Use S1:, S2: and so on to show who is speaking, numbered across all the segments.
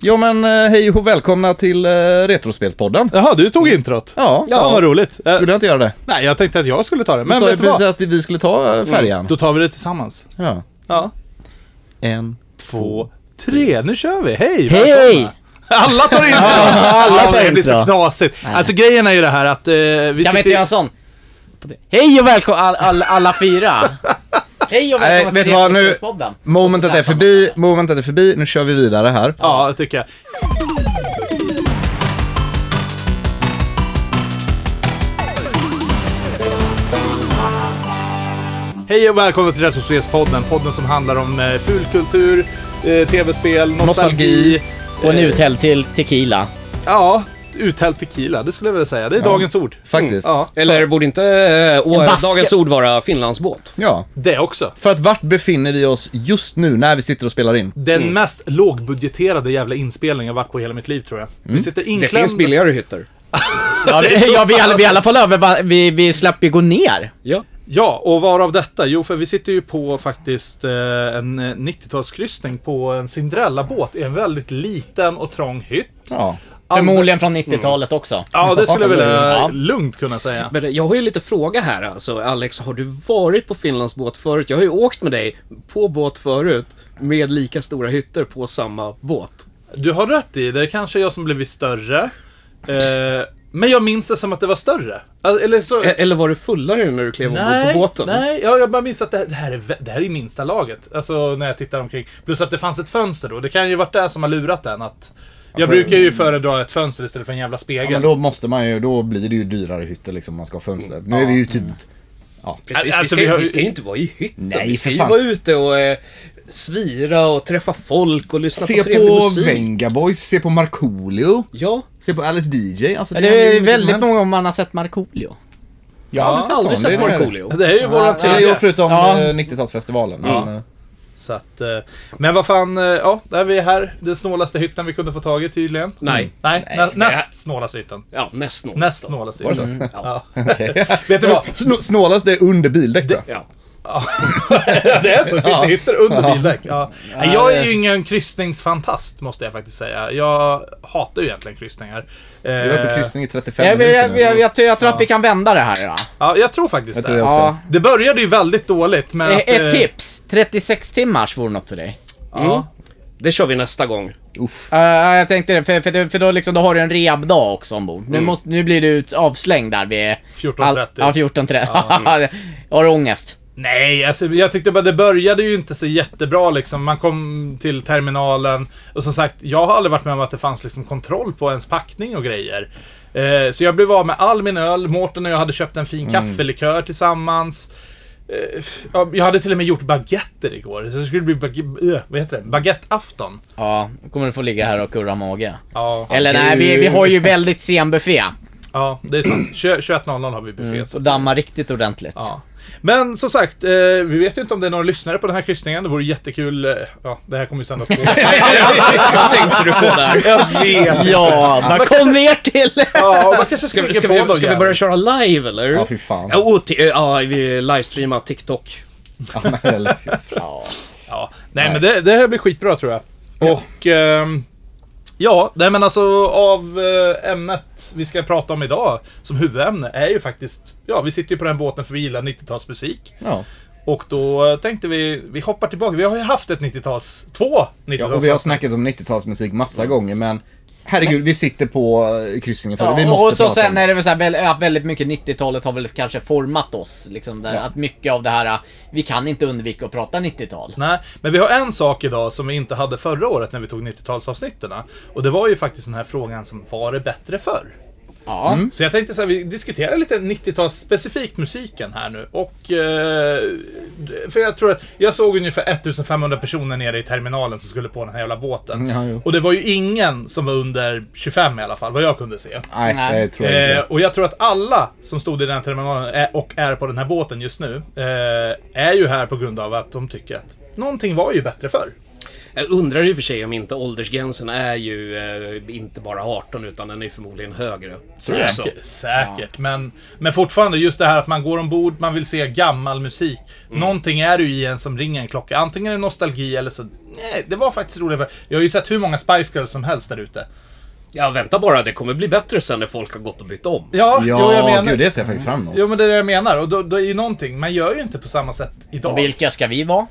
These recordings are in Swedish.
S1: Jo men eh, hej och välkomna till eh, Retrospelspodden.
S2: Jaha, du tog introt.
S1: Ja,
S2: Ja, vad roligt. Eh,
S1: skulle jag inte göra det?
S2: nej, jag tänkte att jag skulle ta det.
S1: Men
S2: Men
S1: du sa ju
S2: vet du
S1: precis
S2: vad? Mm.
S1: att vi skulle ta eh, färjan.
S2: Då tar vi det tillsammans.
S1: Ja.
S2: Ja.
S1: En.
S2: Två, tre, nu kör vi. Hej!
S3: Hej!
S2: välkomna. Alla tar intro!
S3: alla
S2: Ja,
S3: tar
S2: Det blir så
S3: intro.
S2: knasigt.
S3: Nej.
S2: Alltså grejen är ju det här att eh, vi
S3: Jag vet inte, Jönsson. Hej och välkomna all, all, alla fyra. Hej och
S1: Nej,
S3: välkomna
S1: vet
S3: till Alltså,
S1: du vad, nu-
S3: Retrospelspodden.
S1: Momentet är förbi, momentet är förbi, nu kör vi vidare här.
S2: Ja, det tycker jag. Hej och välkomna till Retrospelspodden, podden som handlar om eh, fulkultur, eh, tv-spel, nostalgi.
S1: Nostalgi.
S3: Och en uthälld till tequila.
S2: Ja, uthälld tequila, det skulle jag vilja säga. Det är dagens ord.
S1: Faktiskt.
S2: Ja,
S4: Eller borde inte eh, å-
S3: En baske.
S4: dagens ord vara Finlandsbåt?
S1: Ja.
S2: det också.
S1: För att vart befinner vi oss just nu när vi sitter och spelar in?
S2: Den
S4: Mm.
S2: mest lågbudgeterade jävla inspelning jag varit på i hela mitt liv tror jag. Vi sitter
S4: Mm. Det
S2: inklämda.
S4: finns billigare hytter.
S3: Ja, vi, ja, vi, är i alla- vi är i alla fall över, vi, vi slapp ju gå ner.
S4: Ja.
S2: Ja, och varav detta? Jo, för vi sitter ju på faktiskt eh, en eh, 90-talskryssning på en Cinderella-båt i en väldigt liten och trång hytt.
S1: Ja.
S2: Andra-
S3: Förmodligen från 90-talet också.
S2: Ja, det skulle jag vilja
S3: Ja.
S2: lugnt kunna säga.
S4: Men jag har ju lite fråga här alltså. Alex, har du varit på Finlandsbåt förut? Jag har ju åkt med dig på båt förut med lika stora hytter på samma båt.
S2: Du har rätt i, det är kanske jag som blivit större. Eh, men jag minns det som att det var större. Alltså, Eller så...
S4: E- Eller var du fullare när du klev ombord på båten?
S2: nej, ja, jag bara minns att det, det, här är, vä- det här är minsta laget. Alltså när jag tittar omkring. Plus att det fanns ett fönster då. Det kan ju varit det som har lurat den att... Jag
S1: för-
S2: brukar ju föredra ett fönster istället för en jävla
S1: ja,
S2: spegel.
S1: men då måste man ju, då blir det ju dyrare hytter liksom om man ska ha fönster. Nu är vi ju typ,
S4: Precis,
S2: Alltså,
S4: vi,
S2: vi
S4: ska,
S2: har-
S4: vi, ska ju inte vara i hytten.
S1: Nej,
S4: vi ska
S1: för
S4: ju
S1: fan.
S4: vara ute och eh, svira och träffa folk och lyssna
S1: se
S4: på trevlig
S1: på
S4: musik.
S1: Vengaboys, se på Markoolio,
S4: Ja,
S1: se på Alice DJ. Alltså,
S3: Ja,
S1: händer ju
S3: Det är
S1: mycket som
S3: väldigt
S1: helst.
S3: många om man har sett Markoolio.
S1: Jag
S2: Ja,
S1: har aldrig sett honom,
S4: aldrig
S1: det
S4: sett
S1: är det.
S4: Markoolio.
S2: Det är ju våran
S1: Ja, Jo,
S2: tredje.
S1: förutom
S3: Ja.
S1: eh, 90-talsfestivalen. Men, eh,
S2: Så att, eh, men vad fan, eh, ja, där är vi här. Den snålaste hytten vi kunde få tag i tydligen.
S4: nej.
S2: Nej, nä,
S4: här-
S2: näst snålaste hytten.
S4: Ja, näst något.
S2: Näst snålaste
S1: Var det
S2: hytten.
S1: så?
S2: Ja.
S1: Okej.
S2: Vet du vad?
S1: Sn- Snålast är under bildäck då.
S4: Ja.
S2: Det är så, det finns det hytter under bildäck? Ja. Nej, Jag är
S1: det-
S2: ju ingen kryssningsfantast, måste jag faktiskt säga. Jag hatar ju egentligen kryssningar. Eh,
S1: Vi var på kryssning i 35
S3: Jag, jag, jag,
S1: minuter
S3: jag,
S1: nu.
S3: jag, tror- jag tror att vi kan vända det här idag.
S2: Eh, Ja, jag tror faktiskt
S1: Jag
S2: det.
S1: tror jag också.
S3: Ja.
S2: Det började ju väldigt dåligt med
S3: Eh,
S2: att... eh,
S3: Ett tips. 36 timmars vore något för dig.
S2: Ja.
S4: Det kör vi nästa gång.
S1: Uff.
S3: Ja, ja, jag tänkte det, för, för, det- för då, liksom, då har du en rehabdag också ombord. Nu, måste, nu blir du ut- avslängd där vid...
S2: 14.30.
S3: Ja, 14.30. har du ångest?
S2: Nej, alltså, jag tyckte bara det började ju inte så jättebra liksom. Man kom till terminalen och som sagt, jag har aldrig varit med om att det fanns liksom kontroll på ens packning och grejer. Eh, så jag blev av med all min öl. Mårten och jag hade köpt en fin kaffelikör tillsammans. Eh, ja, jag hade till och med gjort baguetter igår. Så det skulle bli bag- eh, vad heter det? baguetteafton.
S3: Ja, då kommer du få ligga här och kurra mage.
S2: Ja,
S3: Eller nej, vi, vi har ju väldigt sen buffé.
S2: ja, det är sant. 20- 21.00 har vi buffé.
S3: Mm, Så
S2: så-
S3: damma riktigt ordentligt.
S2: Ja. Men som sagt, eh, vi vet ju inte om det är några lyssnare på den här kryssningen. Det vore jättekul. eh, Ja, det här kommer ju sändas på.
S4: Vad tänkte du på där?
S2: Jag vet.
S3: Ja,
S2: Man
S3: men
S2: kanske-
S3: kom ner till...
S2: Ja, och man kanske
S4: Ska,
S2: ska,
S4: vi, ska, vi, ska vi börja köra live eller?
S1: Ja, fy fan.
S4: Ja, och ti- eh, ja, vi livestreamar TikTok.
S1: Ja, men, eller,
S3: Ja.
S2: Ja. Nej, men det, det här blir skitbra tror jag. Och... ehm, ja, nej men alltså av eh, ämnet vi ska prata om idag som huvudämne är ju faktiskt... Ja, vi sitter ju på den båten för vi gillar 90-talsmusik.
S1: ja.
S2: Och då eh, tänkte vi, vi hoppar tillbaka. Vi har ju haft ett 90-tals... Två 90-tals...
S1: ja, och vi har snackat om 90-talsmusik massa gånger, men herregud, vi sitter på eh, kryssningen för det. Vi
S3: och
S1: måste
S3: så
S1: prata
S3: sen
S1: om
S3: är det väl så här, väl, ja, väldigt mycket 90-talet har väl kanske format oss. Liksom, där, Att mycket av det här, äh, vi kan inte undvika att prata 90-tal.
S2: Nej, men vi har en sak idag som vi inte hade förra året när vi tog 90-talsavsnitten. Och det var ju faktiskt den här frågan som var det bättre förr?
S3: Ja.
S2: Så jag tänkte så här, vi diskuterar lite 90-tals specifikt musiken här nu. Och... Eh, för jag tror att jag såg ungefär 1500 personer nere i terminalen som skulle på den här jävla båten.
S1: Ja, jo.
S2: och det var ju ingen som var under 25 i alla fall, vad jag kunde se.
S1: Nej,
S3: Nej.
S1: det tror jag inte.
S2: Eh, och jag tror att alla som stod i den här terminalen är, och är på den här båten just nu eh, är ju här på grund av att de tycker att någonting var ju bättre förr.
S4: Jag undrar i och för sig om inte åldersgränsen är ju eh, inte bara 18 utan den är förmodligen högre. Också.
S2: Säkert, säkert. Men, men fortfarande just det här att man går ombord, man vill se gammal musik.
S4: Mm.
S2: Någonting är det ju i en som ringer en klocka. Antingen är det nostalgi eller så... Nej, det var faktiskt roligt. för- Jag har ju sett hur många Spice Girls som helst där ute.
S4: Ja, vänta bara. Det kommer bli bättre sen när folk har gått och bytt om.
S2: Ja, jo, jag
S1: Ja,
S2: menar.
S1: gud, det ser jag faktiskt fram emot.
S2: Jo, men det är det jag menar. Och då, då är ju någonting. Man gör ju inte på samma sätt idag.
S3: Och vilka ska vi vara?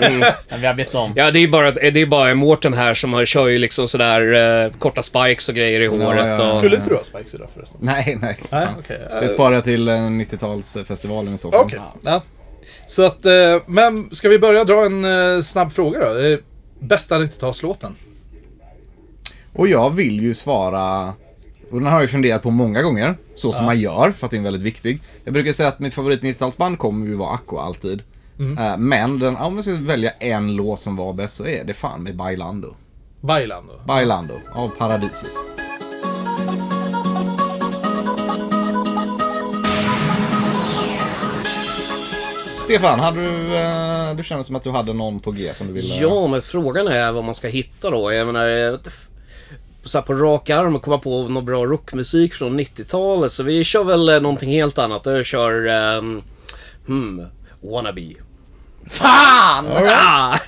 S3: När vi har bytt om.
S4: Ja, det är bara, det är bara Mårten här som har, kör ju liksom sådär eh, korta spikes och grejer i håret.
S1: ja, ja.
S4: Och,
S2: Skulle inte du ha Spice idag förresten?
S1: Nej, nej.
S2: Nej,
S1: fan.
S2: okej.
S1: Det sparar jag till eh, 90-talsfestivalen i så fall.
S2: Okej. Ja. Så att, eh, men ska vi börja dra en eh, snabb fråga då? Eh, Bästa 90-talslåten?
S1: Och jag vill ju svara, och den har jag ju funderat på många gånger, så som man gör för att det är en väldigt viktig. Jag brukar säga att mitt favorit 90-talsband kommer ju vara Aqua alltid. Eh, Men den, om man ska välja en låt som var bäst så är det fan med Bailando.
S2: Bailan då?
S1: Bailando av Paradiso. Stefan, hade du, eh, du kände som att du hade någon på G som du ville...
S4: Ja, men frågan är vad man ska hitta då. Jag menar, jag vet inte f- så här på rak arm och komma på någon bra rockmusik från 90-talet. Så vi kör väl eh, någonting helt annat. Jag kör... ehm, hmm, Wannabe.
S3: Fan!
S4: Ah!
S2: Eh,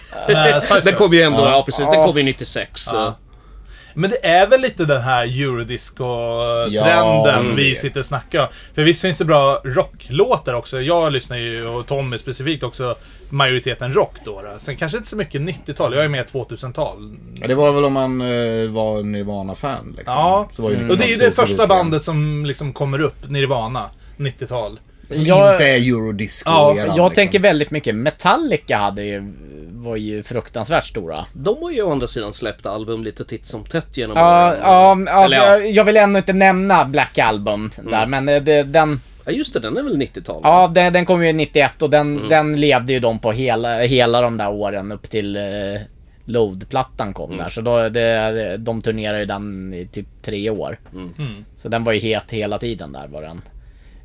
S2: Spice
S4: Den
S2: Girls.
S4: kom ju ändå, ja precis, den kom ju 96. så.
S2: Men det är väl lite den här eurodisco-trenden
S1: Ja,
S2: vi
S1: det.
S2: sitter och snackar om. För visst finns det bra rocklåtar också. Jag lyssnar ju, och Tommy specifikt också, majoriteten rock då. då. Sen kanske inte så mycket 90-tal, jag är mer 2000-tal.
S1: Ja, det var väl om man eh, var Nirvana-fan liksom.
S2: Ja, Mm.
S1: Så var ju
S2: och det är ju det
S1: stor
S2: första
S1: förlust.
S2: bandet som liksom kommer upp, Nirvana, 90-tal.
S1: Som
S3: Jag-
S1: inte är eurodisco
S2: Ja,
S1: eran,
S3: Jag
S1: liksom.
S3: tänker väldigt mycket Metallica hade ju, var ju fruktansvärt stora.
S4: De har ju å andra sidan släppt album lite titt som tätt genom
S3: Ja,
S4: åren.
S3: ja, ja,
S4: Eller
S3: för jag, jag vill ändå inte nämna Black Album där, men eh, det, den,
S4: Ja, just det, den är väl 90-tal?
S3: ja, den, den kom ju 91 och den, den levde ju de på hela, hela de där åren upp till eh, Load-plattan kom där. Så då, det, de turnerade ju den i typ tre år. Så den var ju het hela tiden där var den.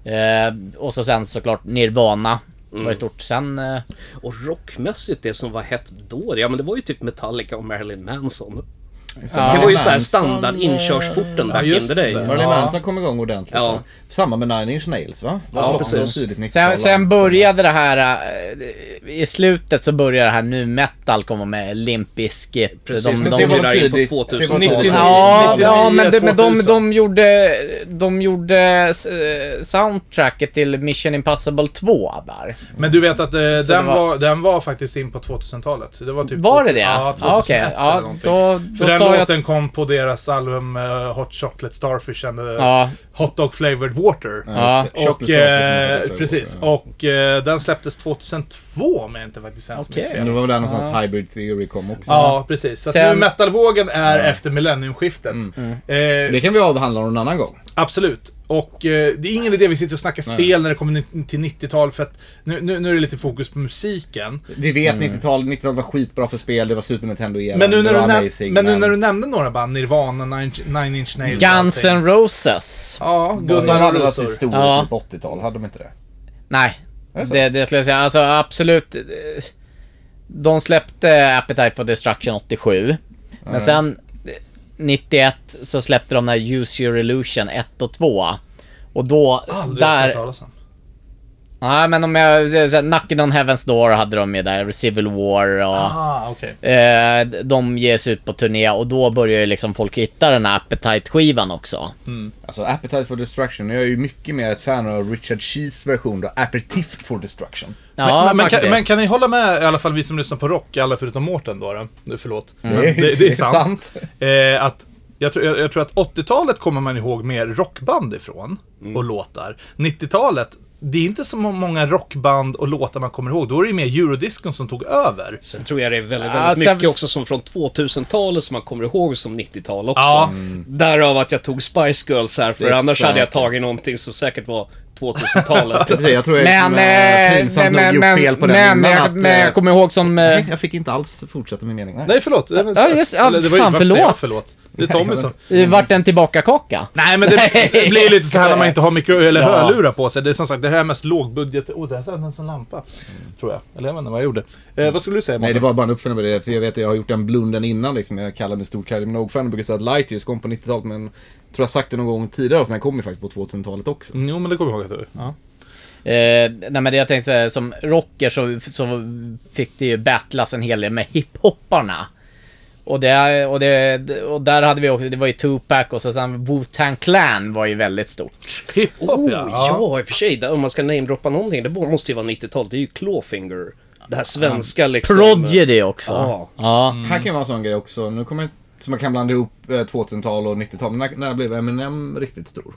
S3: Eh, och så sen såklart Nirvana. Det var ju stort. Sen... Eh,
S4: Och rockmässigt, det som var hett då, ja men det var ju typ Metallica och Marilyn Manson.
S1: Just
S3: Ja.
S4: Det var ju såhär
S1: Manson,
S4: standard inkörsporten back in
S2: just
S4: the day.
S2: det.
S1: Marilyn
S2: Ja.
S1: Manson kom igång ordentligt.
S4: Ja.
S1: va? Samma med Nine Inch Nails va? Det var
S4: Ja,
S1: väl också
S4: precis.
S1: Tidigt 90-tal.
S3: Sen, sen började det här, eh, i slutet så började det här nu metal komma med Limp Bizkit.
S4: Precis,
S3: de, de,
S4: men
S1: det var
S4: ju där
S1: väl
S4: in
S2: typ
S4: på
S1: tidigt.
S4: 2000.
S1: det var
S2: 99.
S1: tidigt.
S3: ja,
S2: 99,
S3: ja, men, de, men de,
S2: 2000.
S3: de gjorde, de gjorde eh, soundtracket till Mission Impossible 2 där.
S2: Men du vet att eh,
S3: det
S2: den, var...
S3: var-
S2: den var faktiskt in på 2000-talet. Det var, typ
S3: Var
S2: två-
S3: det det?
S2: Ja,
S3: Ja,
S2: 2001
S3: okej.
S2: eller
S3: Ja,
S2: någonting.
S3: då,
S2: För
S3: då
S2: den
S3: tar jag...
S2: låten kom på deras album eh, Hot Chocolate Starfish and eh,
S3: Ja.
S2: Hot Dog Flavored Water.
S1: Ja, just det.
S2: Och,
S1: Chocolate Starfish
S2: eh,
S1: and Hot Dog
S2: precis.
S1: Flavored
S2: Och eh, den släpptes 2002 om jag inte faktiskt ens minns
S3: Okej.
S1: Men
S2: fel.
S1: Det var väl där någonstans Hybrid Theory kom också.
S2: Ja, precis. Så att
S3: Sen- Mm.
S2: nu metalvågen är efter millenniumskiftet. Eh,
S1: Mm. Det kan vi avhandla någon annan gång.
S2: Absolut. Och eh, det är ingen idé vi sitter och snackar spel när det kommer ni- till 90-tal för att nu, nu, nu är det lite fokus på musiken.
S1: Vi vet
S3: Mm.
S1: 90-talet, 90-talet var skitbra för spel, det var Super Nintendo-eran,
S2: Men nu, när
S1: det
S2: du,
S1: var
S2: näm-
S1: amazing.
S2: men nu när du nämnde några band, Nirvana, Nine, Nine Inch Nails och
S3: Guns
S2: allting.
S3: N' Roses.
S2: Ja,
S1: Guns N'
S2: Gustav
S1: hade
S2: hade
S1: deras historia
S3: Ja.
S1: på 80-talet, hade de inte det?
S3: Nej,
S1: det så?
S3: det, det skulle jag säga. Alltså absolut. eh, De släppte Appetite for Destruction 87. Men sen eh, 91 så släppte de där Use Your Illusion 1 och 2. Och då,
S2: Aldrig hört
S3: där...
S2: talas om.
S3: Nej men om jag, eh, så här, Knocking on Heaven's Door hade de ju där, Civil War och...
S2: Ah, okej.
S3: Eh, de ges ut på turné och då börjar ju liksom folk hitta den här Appetite-skivan också.
S2: Mm.
S1: Alltså Appetite for Destruction, jag är ju mycket mer ett fan av Richard Shees version då, Aperitif for Destruction.
S3: Ja,
S2: men, men,
S3: faktiskt.
S2: kan, men kan ni hålla med, i alla fall vi som lyssnar på rock, alla förutom Mårten då, då? Nu, förlåt.
S3: Mm.
S2: Men Eh, att jag, tror- jag, jag tror att 80-talet kommer man ihåg mer rockband ifrån
S3: Mm.
S2: och låtar. 90-talet, det är inte så må- många rockband och låtar man kommer ihåg. Då är det ju mer eurodiscon som tog över.
S4: Sen tror jag det är väldigt,
S3: Ja,
S4: väldigt
S3: sen-
S4: mycket också som från 2000-talet som man kommer ihåg som 90-tal också. Mm.
S2: Ja.
S4: Därav att jag tog Spice Girls här,
S1: Det
S4: för
S1: är
S4: annars hade jag
S1: säkert.
S4: tagit någonting som säkert var 2000-talet.
S1: Precis, jag tror jag
S3: Men,
S1: liksom, eh, pinsamt nog gjort fel på den
S3: men,
S1: innan
S3: jag,
S1: att,
S3: men jag
S1: eh,
S3: kommer ihåg som... eh,
S1: Nej, jag fick inte alls fortsätta min mening. Nej.
S2: Nej, förlåt. Jag vet inte.
S3: Ja, just- ja,
S2: Eller det var ju-
S3: fan,
S2: varför säger jag
S3: förlåt.
S2: förlåt. Det är Tommy som...
S3: Det vart det en tillbakakaka?
S2: Mm. Nej, men det, det blir lite så här när man inte har mikro eller
S3: Ja.
S2: hörlurar på sig. Det är som sagt, det här är mest lågbudget... Åh, oh, där tände en sån lampa. Tror jag. Eller jag vet inte vad jag gjorde. Eh, vad skulle du säga,
S1: Mm. Nej,
S2: Mårten?
S1: det var bara en uppföljning på det. För jag vet att jag har gjort den blunden innan. Liksom. Jag kallar mig stor Kylie Minogue-fan och brukar säga att Lightyears kom på 90-talet. Men jag tror jag sagt det någon gång tidigare. Och den här kom ju faktiskt på 2000-talet också.
S2: Jo, men det kommer jag ihåg att du... Ja.
S3: Eh, nej men det jag tänkte säga, som rocker så, så fick det ju battlas en hel del med hiphopparna. Och, det, och, det, och där hade vi också, det var ju Tupac och så sen Wu-Tang Clan var ju väldigt stort.
S2: Hiphop,
S4: Oh,
S2: ja.
S4: ja.
S2: ja.
S4: i och för sig. Där, om man ska namedroppa någonting, det måste ju vara 90-tal. Det är ju Clawfinger. Det här svenska liksom.
S3: Prodigy också.
S4: Ja.
S3: Ja.
S1: Här kan ju vara en sån grej också. Nu kommer jag, som man kan blanda ihop eh, 2000-tal och 90-tal. Men när, när blev Eminem riktigt stor?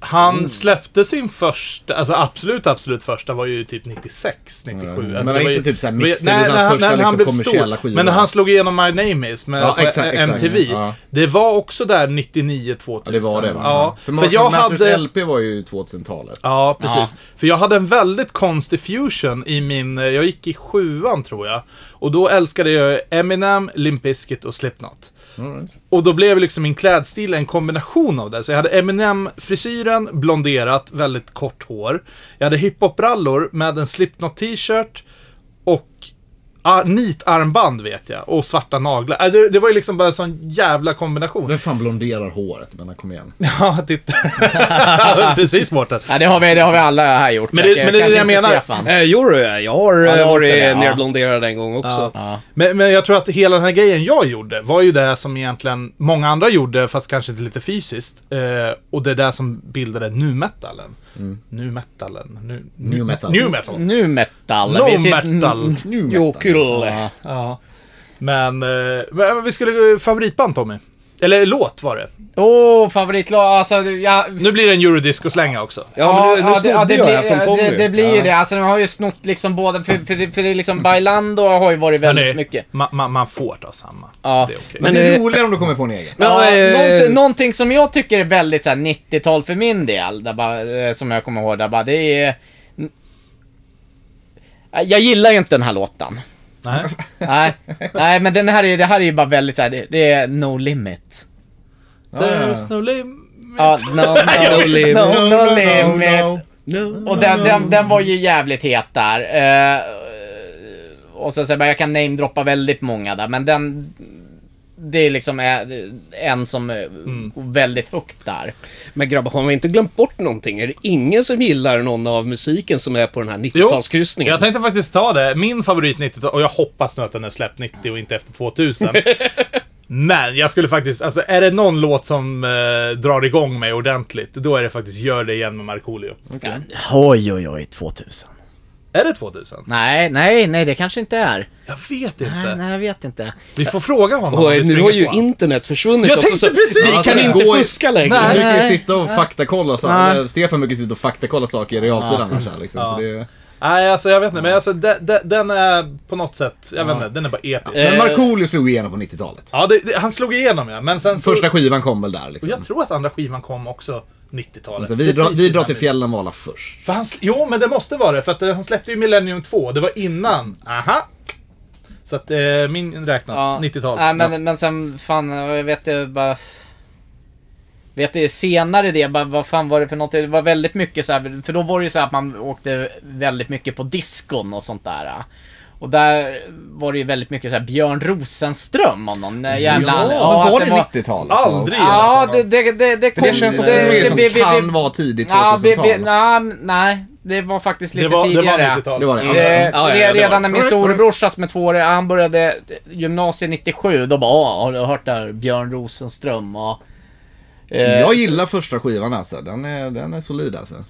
S2: Han släppte sin första, alltså absolut, absolut första var ju typ 96, 97.
S1: Mm.
S2: Alltså,
S1: Men
S2: det
S1: det var
S2: ju-
S1: inte typ så här
S2: det var ju-
S1: mixen, utan hans första liksom kommersiella skiva.
S2: Men när han slog igenom My Name Is med
S1: Ja,
S2: på
S1: exakt, exakt.
S2: MTV.
S1: Ja.
S2: Det var också där 99-2000.
S1: Ja, det var det va?
S2: Ja,
S1: För
S2: för, jag hade...
S1: LP var ju 2000-talet.
S2: Ja, precis. För jag hade en väldigt konstig fusion i min, jag gick i sjuan tror jag. Och då älskade jag Eminem, Limp Bizkit och Slipknot. Och då blev liksom min klädstil en kombination av det. Så jag hade Eminem-frisyren, blonderat, väldigt kort hår. Jag hade hiphop-brallor med en Slipknot-t-shirt och ah, nitarmband vet jag. Och svarta naglar. Alltså, det var ju liksom bara en sån jävla kombination.
S1: Vem fan blonderar håret? Men kom igen.
S2: Ja, titta. precis Mårten.
S3: Ja, det har vi, det har vi alla här gjort.
S2: Men det-
S3: Säkert-
S2: men det är det
S3: kanske
S2: jag
S3: inte
S2: menar.
S3: Stefan.
S4: Eh, jo, då, ja. jag har
S3: Ja,
S4: eh,
S3: jag har
S4: varit
S3: också det, ja.
S4: nerblonderad en gång också.
S3: Ja.
S2: Men, men jag tror att hela den här grejen jag gjorde var ju det som egentligen många andra gjorde, fast kanske inte lite fysiskt. Eh, och det är det som bildade nu-metalen. Nu-metalen. Nu,
S1: Nu metal.
S2: Nu-metal.
S3: Nu metal.
S2: No
S3: Vi sitter-
S2: metal.
S1: Nu metal.
S3: Jo, kul.
S1: Ja.
S2: Ja. Men, eh, men vi skulle... Favoritband, Tommy. Eller låt var det.
S3: Åh, favoritlåt. Alltså, jag,
S2: Nu blir det en eurodisco-slänga också.
S4: Ja, men nu, nu snodde jag
S3: blir-
S4: här från Tommy.
S3: Det, det blir ju
S4: Ja. Mm.
S3: det. Alltså de har ju snott liksom båda, för, för, det- för det är liksom Bailando har ju varit väldigt
S2: Hörrni,
S3: mycket.
S2: Ma, ma, man får ta samma.
S3: Ja.
S2: Det är okej.
S1: Men
S4: Men,
S1: det är
S4: eh,
S1: roligare om du kommer på en egen.
S4: Men,
S3: ja,
S4: eh,
S3: någonting, någonting som jag tycker är väldigt så här 90-tal för min del, där bara, eh, som jag kommer ihåg, där bara, det är... n- Jag gillar ju inte den här låten.
S2: Nej.
S3: nej, nej, men den här är, ju- det här är ju bara väldigt så här, det, det är no limit.
S2: There's no limit.
S3: Ja, no, no,
S4: No limit.
S3: no, no,
S1: No, no,
S3: limit.
S1: no.
S4: No.
S3: Och den, den, den var ju jävligt het där. Eh, och så, så jag bara, jag kan namedroppa väldigt många där, men den... Det är liksom eh, en som är väldigt högt där.
S4: Men grabbar, har vi inte glömt bort någonting? Är det ingen som gillar någon av musiken som är på den här 90-talskryssningen?
S2: jag tänkte faktiskt ta det. Min favorit 90 och jag hoppas nu att den är släppt 90 och inte efter 2000. Men jag skulle faktiskt, alltså är det någon låt som eh, drar igång mig ordentligt, då är det faktiskt Gör det igen med Markoolio.
S3: Oj, oj, oj, 2000.
S2: Är det 2000?
S3: Nej, nej, nej, det kanske inte är.
S2: Jag vet inte.
S3: Nej, nej, jag vet inte.
S2: Vi får fråga honom
S4: Och, eh, nu
S2: springer
S4: har ju
S2: på honom.
S4: internet försvunnit
S2: Jag
S4: också,
S2: tänkte
S4: så
S2: precis!
S4: Vi
S1: Alltså,
S4: kan
S1: det
S4: inte
S1: går ju-
S4: fuska längre.
S1: Du
S2: Nej.
S1: brukar ju sitta och faktakolla
S3: Nej.
S1: saker. Eh, Stefan brukar sitta och faktakolla saker i realtid annars här liksom. Så det är...
S2: Nej, alltså jag vet inte, men alltså de, de, den är på något sätt, jag vet inte, den är bara episk.
S1: Men Markoolio slog igenom på 90-talet.
S2: Ja, det, det, han slog igenom ja, men sen så,
S1: Första skivan kom väl där liksom.
S2: Jag tror att andra skivan kom också 90-talet.
S1: Så Alltså, vi,
S2: Precis
S1: drar, vi drar
S2: innan
S1: till
S2: min-
S1: fjällen Vala först.
S2: För han, sl- jo, men det måste vara det, för att eh, han släppte ju Millennium 2, det var innan. Aha! Så att eh, min räknas,
S1: Alltså,
S3: Ja.
S2: 90-tal.
S3: Nej, men, men sen, fan, jag vet det bara... Vet det senare det, bara, vad fan var det för något? Det var väldigt mycket så här, för då var det ju så här att man åkte väldigt mycket på diskon och sånt där. eh. Och där var det ju väldigt mycket så här Björn Rosenström av någon eh, jävla...
S1: ja, men
S3: att
S1: var det
S3: var-
S1: 90-talet?
S2: Aldrig.
S3: Ja, det, det, det, det
S1: För
S3: kom...
S1: det känns också
S3: det-
S1: som en grej som
S3: det- vi- vi-
S1: kan vara tidigt
S3: Ja, vi- vi-
S1: 2000-tal.
S3: nej, nej, det var faktiskt lite
S2: det var, det var
S3: tidigare.
S2: 90-tal.
S1: Det var det.
S3: Eh,
S1: Ja, ja,
S4: ja,
S3: re-
S4: ja, det var
S3: redan när
S4: det.
S3: min storebrorsa som är två år, han började gymnasiet 97, då bara "Ah, har du hört där Björn Rosenström och... eh,
S1: Jag gillar första skivan alltså. Den är, den är solid alltså.
S3: ja,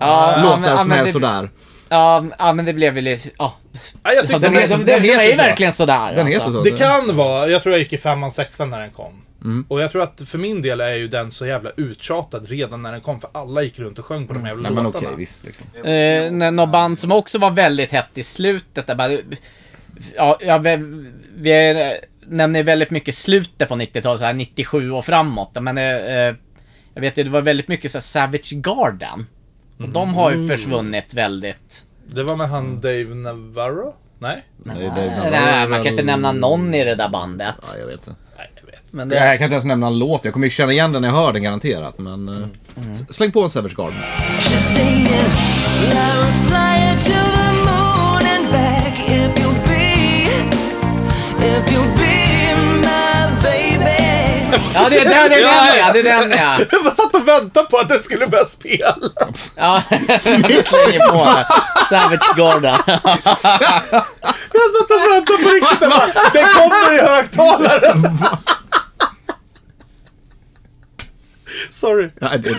S3: ja, men-
S1: Låtar
S3: ja,
S1: som
S3: men
S1: är
S3: det-
S1: sådär.
S3: Ja, ja, men det blev väl lite... Ja,
S2: Nej, jag
S3: ja,
S2: tyckte
S3: de,
S1: den
S3: de,
S1: heter-
S3: de, de,
S1: den heter
S3: är
S1: så.
S3: verkligen sådär alltså.
S1: Den heter så.
S2: det kan vara, jag tror jag gick i femman, sexan när den kom.
S1: Mm.
S2: Och jag tror att för min del är ju den så jävla uttjatad redan när den kom, för alla gick runt och sjöng på de jävla
S1: Mm. Nej men
S2: låtarna.
S1: okej, visst liksom.
S3: Eh, när något band som också var väldigt hett i slutet. Där bara, ja, ja, vi, vi är, nämner väldigt mycket slutet på 90-talet, så här 97 och framåt. Men eh, eh, jag vet ju, det var väldigt mycket så här Savage Garden. Och de har ju försvunnit väldigt.
S2: Det var med han Dave Navarro? Nej?
S1: Nej, det är
S3: Nej,
S1: väl-
S3: man kan inte nämna någon i det där bandet.
S1: Ja, jag vet inte.
S4: Nej, jag vet.
S3: Men
S1: Jag
S3: det,
S1: kan inte ens nämna en låt. Jag kommer ju känna igen den när jag hör den garanterat. Men eh,
S3: Mm.
S1: s- släng på en Savage Garden.
S5: She's singing, "Love, fly you to the moon and back if you be, if you be my baby."
S3: ja, det är den det är den ja. Det är den ja.
S2: Jag bara satt och väntade på att den skulle börja spela.
S3: Ja, vi slänger på den. Savage Garden.
S2: Jag satt och väntade på riktigt. Jag bara, den kommer i högtalaren. Sorry.
S1: Ja, det,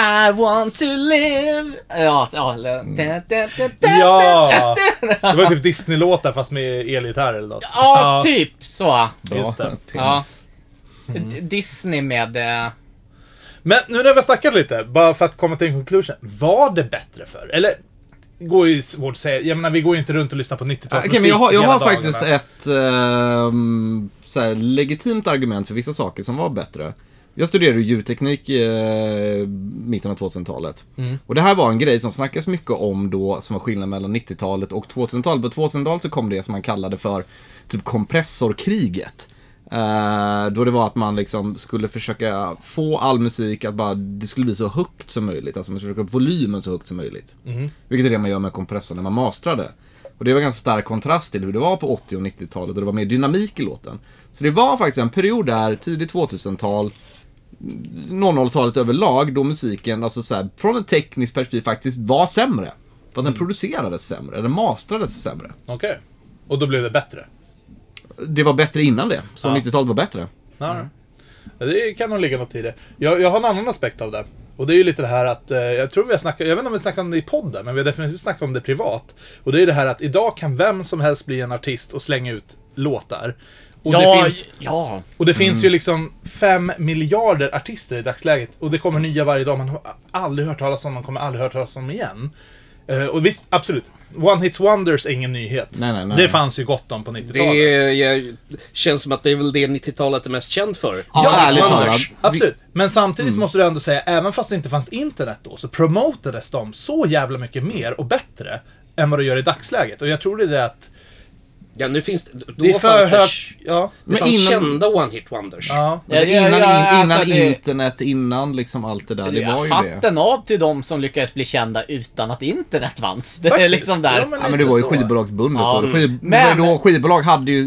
S3: I want to live. Ja, ja. da, da, da, da.
S2: Ja. Det var typ Disney-låtar fast med elgitarr eller något.
S3: ja typ så.
S2: Just det.
S3: Ja. D- Disney med... eh,
S2: Men nu när vi har snackat lite, bara för att komma till en conclusion. Var det bättre för Eller, går ju svårt att säga. Jag menar, vi går ju inte runt och lyssnar på 90-talsmusik
S1: Ah, Okej, men jag har, jag
S2: hela
S1: har
S2: dagarna.
S1: faktiskt ett ehm, så här, legitimt argument för vissa saker som var bättre. Jag studerade ju ljudteknik i eh, mitten av 2000-talet.
S2: Mm.
S1: Och det här var en grej som snackas mycket om då, som var skillnaden mellan 90-talet och 2000-talet. På 2000-talet så kom det som man kallade för typ kompressorkriget. Eh, då det var att man liksom skulle försöka få all musik att bara, det skulle bli så högt som möjligt. Alltså man skulle försöka få volymen så högt som möjligt. Vilket är det man gör med kompressorn när man mastrade. Och det var ganska stark kontrast till hur det var på 80 och 90-talet och det var mer dynamik i låten. Så det var faktiskt en period där, tidigt 2000-tal, 00-talet överlag, då musiken, alltså så här, från ett tekniskt perspektiv faktiskt var sämre. För att den producerades sämre, den mastrades sämre.
S2: Okej. Och då blev det bättre.
S1: Det var bättre innan det, så
S2: Ja.
S1: 90-talet var bättre.
S2: Ja.
S4: Mm.
S2: Det kan nog ligga något i det. Jag, jag har en annan aspekt av det. Och det är ju lite det här att, eh, jag tror vi har snackat, jag vet inte om vi snackade om det i podden, men vi har definitivt snackat om det privat. Och det är ju det här att idag kan vem som helst bli en artist och slänga ut låtar. Och det
S3: Ja,
S2: finns,
S3: ja.
S2: och det finns ju
S1: Mm.
S2: liksom 5 miljarder artister i dagsläget. Och det kommer nya varje dag, man har aldrig hört talas om, man kommer aldrig hört talas om igen. Eh, Och visst, absolut. One Hit Wonders är ingen nyhet.
S1: Nej, nej, nej.
S2: Det fanns ju gott om på 90-talet.
S4: Det är, jag, känns som att det är väl det 90-talet är mest känt för.
S1: Ja, ärligt
S4: Anders.
S1: talat.
S2: Absolut. Men samtidigt måste du ändå säga, även fast det inte fanns internet då, så promotades de så jävla mycket mer och bättre än vad det gör i dagsläget. Och jag tror det är det att...
S4: Ja, nu finns det... Då
S2: Det är för
S4: fanns det...
S2: hög...
S4: sh-
S2: Ja.
S4: Det fanns
S1: innan-
S4: kända one-hit wonders.
S2: ja.
S1: Alltså,
S3: Ja, ja,
S1: innan
S3: ja,
S1: in, innan
S3: alltså, det-
S1: internet, innan liksom allt det där, det var ju det.
S3: Hatten av till de som lyckades bli kända utan att internet fanns. Det är
S2: Faktiskt.
S3: liksom där.
S2: Ja, men
S1: Ja men det
S2: lite
S1: var ju
S2: så.
S1: skivbolagsbundet
S3: Ja,
S1: och
S3: mm.
S1: skiv,
S3: Men-
S1: då skivbolag hade ju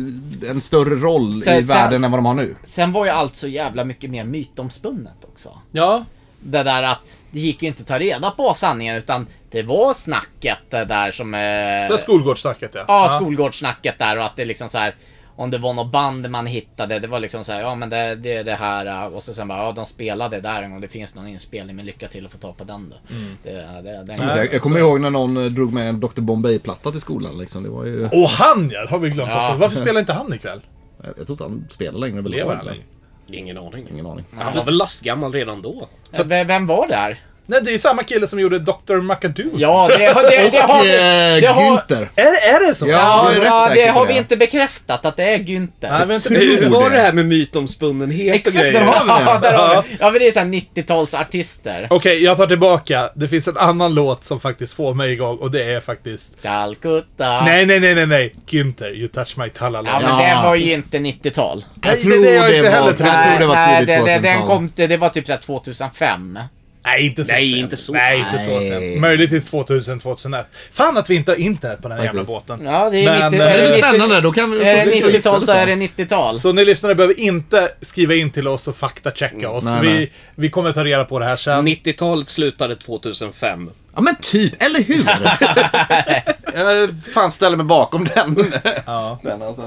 S1: en större roll i
S3: Sen- sen-
S1: världen än vad de har nu.
S3: Sen var ju allt så jävla mycket mer mytomspunnet också.
S2: Ja.
S3: Det där att det gick ju inte att ta reda på sanningen utan det var snacket det där som... Eh,
S2: Det var skolgårdssnacket ja.
S3: Ja, skolgårdssnacket där och att det liksom så här om det var något band man hittade, det var liksom så här, ja men det, det är det här eh, och så sen bara, ja de spelade där en gång, det finns någon inspelning men lycka till att få ta på den då.
S2: Mm.
S3: Det, det, den
S1: Så Jag, jag kommer ihåg när någon eh, drog med en Dr. Bombay-platta till skolan liksom. Det var ju...
S2: Och han ja, det har vi glömt
S3: Ja.
S2: bort. Varför spelar inte han ikväll?
S1: Jag tror inte han spelar längre. väl?
S2: Lever han längre?
S4: Ingen aning.
S1: Ingen aning.
S4: Han var väl lastgammal redan då?
S3: V- Vem var där?
S2: Nej, det är samma kille som gjorde Dr. Macadoo.
S3: Ja, det, det, det, det har
S1: Och
S3: vi...
S1: eh,
S3: Det har,
S1: Günther.
S2: Är, är det så?
S1: Ja, jag är rätt
S3: ja,
S1: säker
S3: det
S1: på
S3: har vi
S1: det.
S3: inte bekräftat att det är
S2: Nej,
S3: Günther.
S2: men,
S1: Tror
S4: Hur var
S1: det.
S4: det här med mytomspunnenhet och
S1: Exakt, där
S4: grejer?
S1: har vi
S3: Ja,
S1: det.
S3: där har
S2: Ja.
S3: vi. ja, men det är såhär 90-talsartister.
S2: Okej, jag tar tillbaka. Det finns en annan låt som faktiskt får mig igång och det är faktiskt...
S3: Calcutta.
S2: Nej, nej, nej, nej, nej. Günther, You Touch My Talala.
S3: Ja, men
S1: Ja.
S3: det var ju inte 90-tal.
S2: Nej,
S1: Jag
S2: det-
S1: tror
S2: det är
S1: det
S2: jag inte heller
S1: var, jag
S2: tror.
S1: tror det var tidigt
S3: det, det, den
S1: 2000-tal.
S3: kom, till- det var typ såhär 2005.
S2: Nej, inte så
S4: Nej,
S2: sent.
S4: inte så
S2: Nej,
S4: sent.
S2: inte så
S1: Nej.
S2: sent. Möjligtvis 2000, 2001. Fan att vi inte har internet på den här
S1: Faktiskt.
S2: jävla båten.
S3: Ja, det är
S2: Men,
S3: 90
S2: eh,
S1: Det
S2: Det
S1: är
S2: är
S1: spännande, då kan vi
S3: Är det
S1: fortsätta gissa
S3: 90-tal så
S1: lite.
S3: är det 90-tal.
S2: Så ni lyssnare behöver inte skriva in till oss och faktachecka oss.
S1: Nej,
S2: vi,
S1: nej.
S2: vi kommer ta reda på det här sen.
S4: 90-talet slutade 2005.
S1: Ja men typ, eller hur? jag fan ställer mig bakom den.
S2: Ja.
S1: den alltså.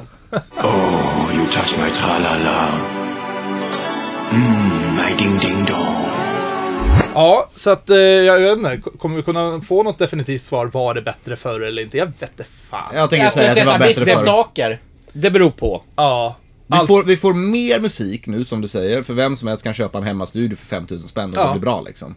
S6: Oh, you touch my tra-la-la. Mmm, my ding-ding-dong.
S2: ja, så att eh, jag vet inte. K- Kommer vi kunna få något definitivt svar? Var det bättre förr eller inte? Jag vet inte fan.
S1: Jag tänker
S3: Jag
S1: säga
S3: skulle
S1: att det
S3: säga
S1: var
S3: såhär,
S1: bättre
S3: vissa
S1: förr.
S3: saker.
S4: Det beror på.
S2: Ja.
S1: Vi
S2: Allt-
S1: får, vi får mer musik nu som du säger, för vem som helst kan köpa en hemmastudio för 5000 spänn och
S2: Ja.
S1: det blir bra liksom.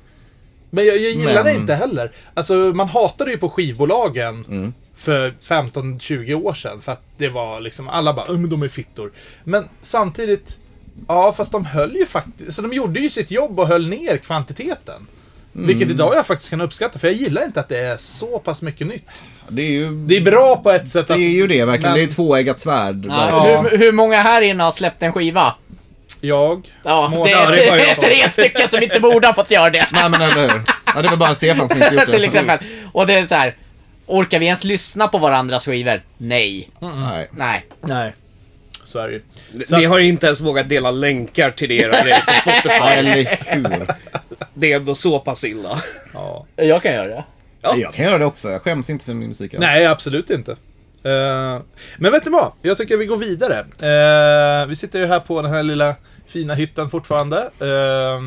S2: Men jag, jag gillar det
S1: Men-
S2: inte heller. Alltså, man hatade ju på skivbolagen
S1: Mm.
S2: för 15-20 år sedan. För att det var liksom, alla bara "Äh, men de är fittor. Men alltså, samtidigt, ja fast de höll ju faktiskt, så de gjorde ju sitt jobb och höll ner kvantiteten.
S1: Mm.
S2: Vilket idag jag faktiskt kan uppskatta, för jag gillar inte att det är så pass mycket nytt.
S1: Det är ju
S2: Det är bra på ett sätt
S1: det,
S2: att...
S1: är ju det verkligen.
S2: Men-
S1: Det är tvåeggat svärd.
S3: Ja.
S1: verkligen.
S3: Hur, hur många här inne har släppt en skiva?
S2: Jag...
S3: Ja, det
S2: Månad.
S3: är
S4: det var
S3: tre,
S4: jag.
S3: tre stycken som inte borde ha fått göra det.
S1: Nej men eller hur. Ja, det var bara Stefan som inte gjort det.
S3: Till exempel. Och det är så här. Orkar vi ens lyssna på varandras skivor? Nej.
S1: Nej.
S3: Nej.
S2: Nej.
S3: typ-
S2: Så är det ju.
S4: Ni har ju inte ens vågat dela länkar till era grejer på
S1: Ja,
S4: Spotify.
S1: eller hur.
S4: Det är ändå så pass illa.
S2: Ja.
S3: Jag kan göra det.
S4: Ja.
S1: Jag kan göra det också. Jag skäms inte för min musik. alls.
S2: Nej, absolut inte. Eh, men vet ni vad? Jag tycker vi går vidare. Eh, vi sitter ju här på den här lilla fina hytten fortfarande. Eh, jag har